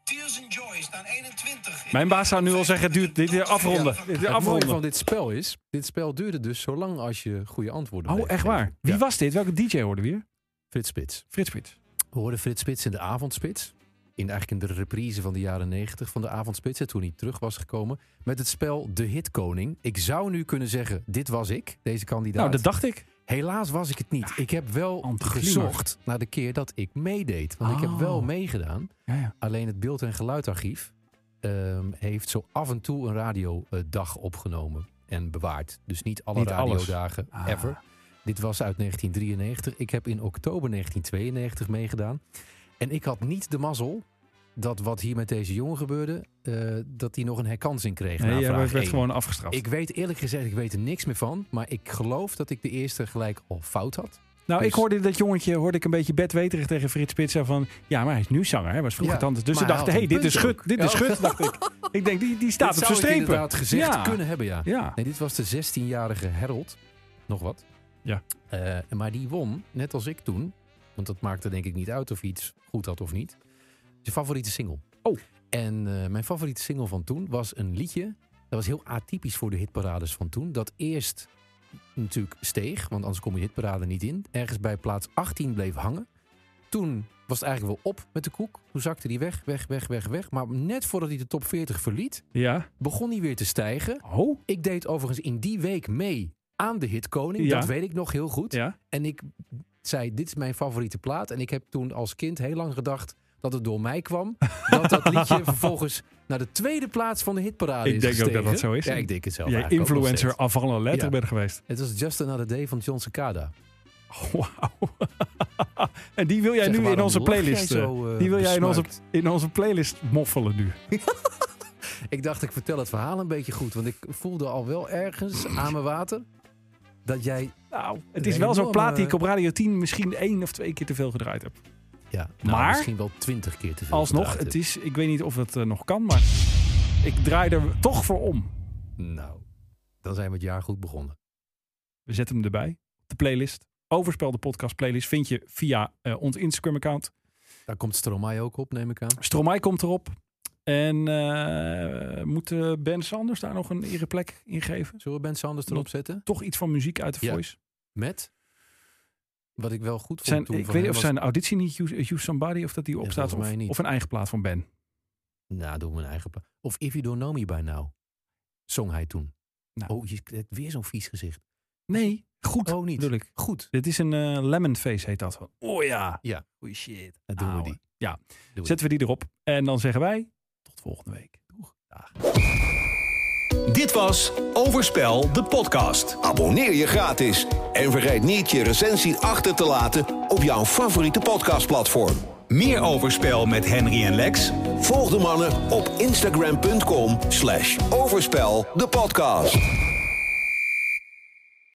[SPEAKER 7] Tears and Joy staan 21. in
[SPEAKER 3] Mijn
[SPEAKER 7] de
[SPEAKER 3] baas zou nu al zeggen, het duurt- dit is afronden.
[SPEAKER 7] Ja.
[SPEAKER 3] Dit is
[SPEAKER 4] Het mooie van
[SPEAKER 3] afronden.
[SPEAKER 4] dit spel is, dit spel duurde dus zo lang als je goede antwoorden
[SPEAKER 3] Oh,
[SPEAKER 4] bleef
[SPEAKER 3] echt
[SPEAKER 4] geven.
[SPEAKER 3] waar. Wie
[SPEAKER 4] Ja,
[SPEAKER 3] was dit? Welke DJ hoorden we hier?
[SPEAKER 4] Frits Spits.
[SPEAKER 3] Frits Spits.
[SPEAKER 4] We hoorden Frits Spits in de avondspits. In eigenlijk in de reprise van de jaren 90 van de avondspits. Hè, toen hij terug was gekomen. Met het spel De Hitkoning. Ik zou nu kunnen zeggen, dit was ik. Deze kandidaat.
[SPEAKER 3] Nou, dat dacht ik.
[SPEAKER 4] Helaas was ik het niet. ik heb wel
[SPEAKER 3] anticlimax.
[SPEAKER 4] gezocht naar de keer dat ik meedeed. Want ik heb wel
[SPEAKER 3] Oh.
[SPEAKER 4] meegedaan.
[SPEAKER 3] Ja, ja.
[SPEAKER 4] Alleen het beeld- en geluidarchief ehm, heeft zo af en toe een radiodag opgenomen en bewaard. Dus niet alle
[SPEAKER 3] Niet alles.
[SPEAKER 4] radiodagen
[SPEAKER 3] Ah.
[SPEAKER 4] ever. Dit was uit 1993. Ik heb in oktober 1992 meegedaan. En ik had niet de mazzel dat wat hier met deze jongen gebeurde, eh, dat hij nog een herkansing kreeg. na
[SPEAKER 3] Nee, jij
[SPEAKER 4] vraag
[SPEAKER 3] werd
[SPEAKER 4] één.
[SPEAKER 3] gewoon afgestraft.
[SPEAKER 4] Ik weet eerlijk gezegd, ik weet er niks meer van. Maar ik geloof dat ik de eerste gelijk al fout had.
[SPEAKER 3] nou, ik
[SPEAKER 4] dus-
[SPEAKER 3] hoorde dat jongetje hoorde ik een beetje bedweterig tegen Frits Spitzer van... Ja, maar hij is nu zanger. Hij was vroeger
[SPEAKER 4] Ja,
[SPEAKER 3] tante. Dus ze
[SPEAKER 4] maar hij
[SPEAKER 3] dachten, hé,
[SPEAKER 4] had
[SPEAKER 3] hey,
[SPEAKER 4] een
[SPEAKER 3] dit is
[SPEAKER 4] punt
[SPEAKER 3] schut.
[SPEAKER 4] ook.
[SPEAKER 3] Dit is
[SPEAKER 4] Ja.
[SPEAKER 3] schut, dacht ik. Ik denk, die, die staat
[SPEAKER 4] Dit
[SPEAKER 3] op
[SPEAKER 4] zou
[SPEAKER 3] zijn
[SPEAKER 4] ik
[SPEAKER 3] strepen.
[SPEAKER 4] inderdaad gezegd
[SPEAKER 3] Ja.
[SPEAKER 4] kunnen hebben, ja.
[SPEAKER 3] Ja.
[SPEAKER 4] Nee, dit was de 16-jarige Harold. Nog wat.
[SPEAKER 3] Ja.
[SPEAKER 4] Eh, maar die won, net als ik toen. Want dat maakte denk ik niet uit of hij iets goed had of niet. Zijn favoriete single.
[SPEAKER 3] Oh.
[SPEAKER 4] En eh, mijn favoriete single van toen was een liedje. Dat was heel atypisch voor de hitparades van toen. Dat eerst natuurlijk steeg, want anders kom je de hitparade niet in. Ergens bij plaats 18 bleef hangen. Toen was het eigenlijk wel op met de koek. Toen zakte hij weg, weg, weg, weg, weg. Maar net voordat hij de top 40 verliet,
[SPEAKER 3] Ja.
[SPEAKER 4] begon hij weer te stijgen.
[SPEAKER 3] Oh.
[SPEAKER 4] Ik deed overigens in die week mee aan de hitkoning.
[SPEAKER 3] Ja.
[SPEAKER 4] Dat weet ik nog heel goed.
[SPEAKER 3] Ja.
[SPEAKER 4] En ik zei, dit is mijn favoriete plaat. En ik heb toen als kind heel lang gedacht dat het door mij kwam. dat dat liedje vervolgens naar de tweede plaats van de hitparade
[SPEAKER 3] Ik
[SPEAKER 4] is
[SPEAKER 3] denk ook dat
[SPEAKER 4] gestegen.
[SPEAKER 3] dat zo is.
[SPEAKER 4] Ja, ik denk het zelf
[SPEAKER 3] Jij
[SPEAKER 4] eigenlijk ook nog
[SPEAKER 3] influencer
[SPEAKER 4] steeds.
[SPEAKER 3] af alle letter
[SPEAKER 4] Ja.
[SPEAKER 3] bent geweest.
[SPEAKER 4] Het was Just Another Day van John Cicada.
[SPEAKER 3] Wauw. en die wil jij
[SPEAKER 4] Zeg,
[SPEAKER 3] nu in
[SPEAKER 4] waarom
[SPEAKER 3] onze
[SPEAKER 4] lach jij
[SPEAKER 3] playlist. eh,
[SPEAKER 4] zo, eh,
[SPEAKER 3] die wil jij in onze,
[SPEAKER 4] besmuikt?
[SPEAKER 3] in onze playlist moffelen nu.
[SPEAKER 4] Ik dacht, ik vertel het verhaal een beetje goed. Want ik voelde al wel ergens aan mijn water... dat jij...
[SPEAKER 3] Nou, het
[SPEAKER 4] Een
[SPEAKER 3] is wel zo'n
[SPEAKER 4] enorme-
[SPEAKER 3] plaat die ik op Radio 10 misschien één of twee keer te veel gedraaid heb.
[SPEAKER 4] Ja, nou,
[SPEAKER 3] Maar-
[SPEAKER 4] misschien wel twintig keer te veel
[SPEAKER 3] Alsnog,
[SPEAKER 4] gedraaid
[SPEAKER 3] het
[SPEAKER 4] hebt.
[SPEAKER 3] is, ik weet niet of het eh, nog kan, maar ik draai er toch voor om.
[SPEAKER 4] Nou, dan zijn we het jaar goed begonnen.
[SPEAKER 3] We zetten hem erbij. De playlist. Overspel de podcast playlist vind je via eh, ons Instagram account.
[SPEAKER 4] Daar komt Stromae ook op, neem ik aan.
[SPEAKER 3] Stromae komt erop. En eh, moet eh, Ben Sanders daar nog een ere plek in geven?
[SPEAKER 4] Zullen we Ben Sanders erop zetten?
[SPEAKER 3] Toch iets van muziek uit de
[SPEAKER 4] Ja.
[SPEAKER 3] voice.
[SPEAKER 4] Met? Wat ik wel goed vond
[SPEAKER 3] Zijn,
[SPEAKER 4] toen
[SPEAKER 3] ik
[SPEAKER 4] van
[SPEAKER 3] weet niet of
[SPEAKER 4] hem was-
[SPEAKER 3] zijn auditie niet You, You Somebody of dat die opstaat
[SPEAKER 4] volgens
[SPEAKER 3] of,
[SPEAKER 4] mij niet.
[SPEAKER 3] of een eigen plaat van Ben.
[SPEAKER 4] Nou, doe mijn eigen... pla- Of If You Don't Know Me By Now. nou, Zong hij toen.
[SPEAKER 3] Nou.
[SPEAKER 4] Oh, je hebt weer zo'n vies gezicht.
[SPEAKER 3] Nee, goed
[SPEAKER 4] Oh, niet.
[SPEAKER 3] bedoel ik.
[SPEAKER 4] Goed.
[SPEAKER 3] Dit is een eh, lemon face heet dat. Oh ja.
[SPEAKER 4] Ja.
[SPEAKER 3] Goeie shit.
[SPEAKER 4] Dan doen we
[SPEAKER 3] Ouwe.
[SPEAKER 4] die.
[SPEAKER 3] Ja.
[SPEAKER 4] Doe
[SPEAKER 3] Zetten we die erop. En dan zeggen wij tot volgende week. Doeg. Dag.
[SPEAKER 1] Dit was Overspel, de podcast.
[SPEAKER 2] Abonneer je gratis en vergeet niet je recensie achter te laten op jouw favoriete podcastplatform.
[SPEAKER 1] Meer Overspel met Henry en Lex
[SPEAKER 2] Volg de mannen op instagram.com slash overspel de podcast.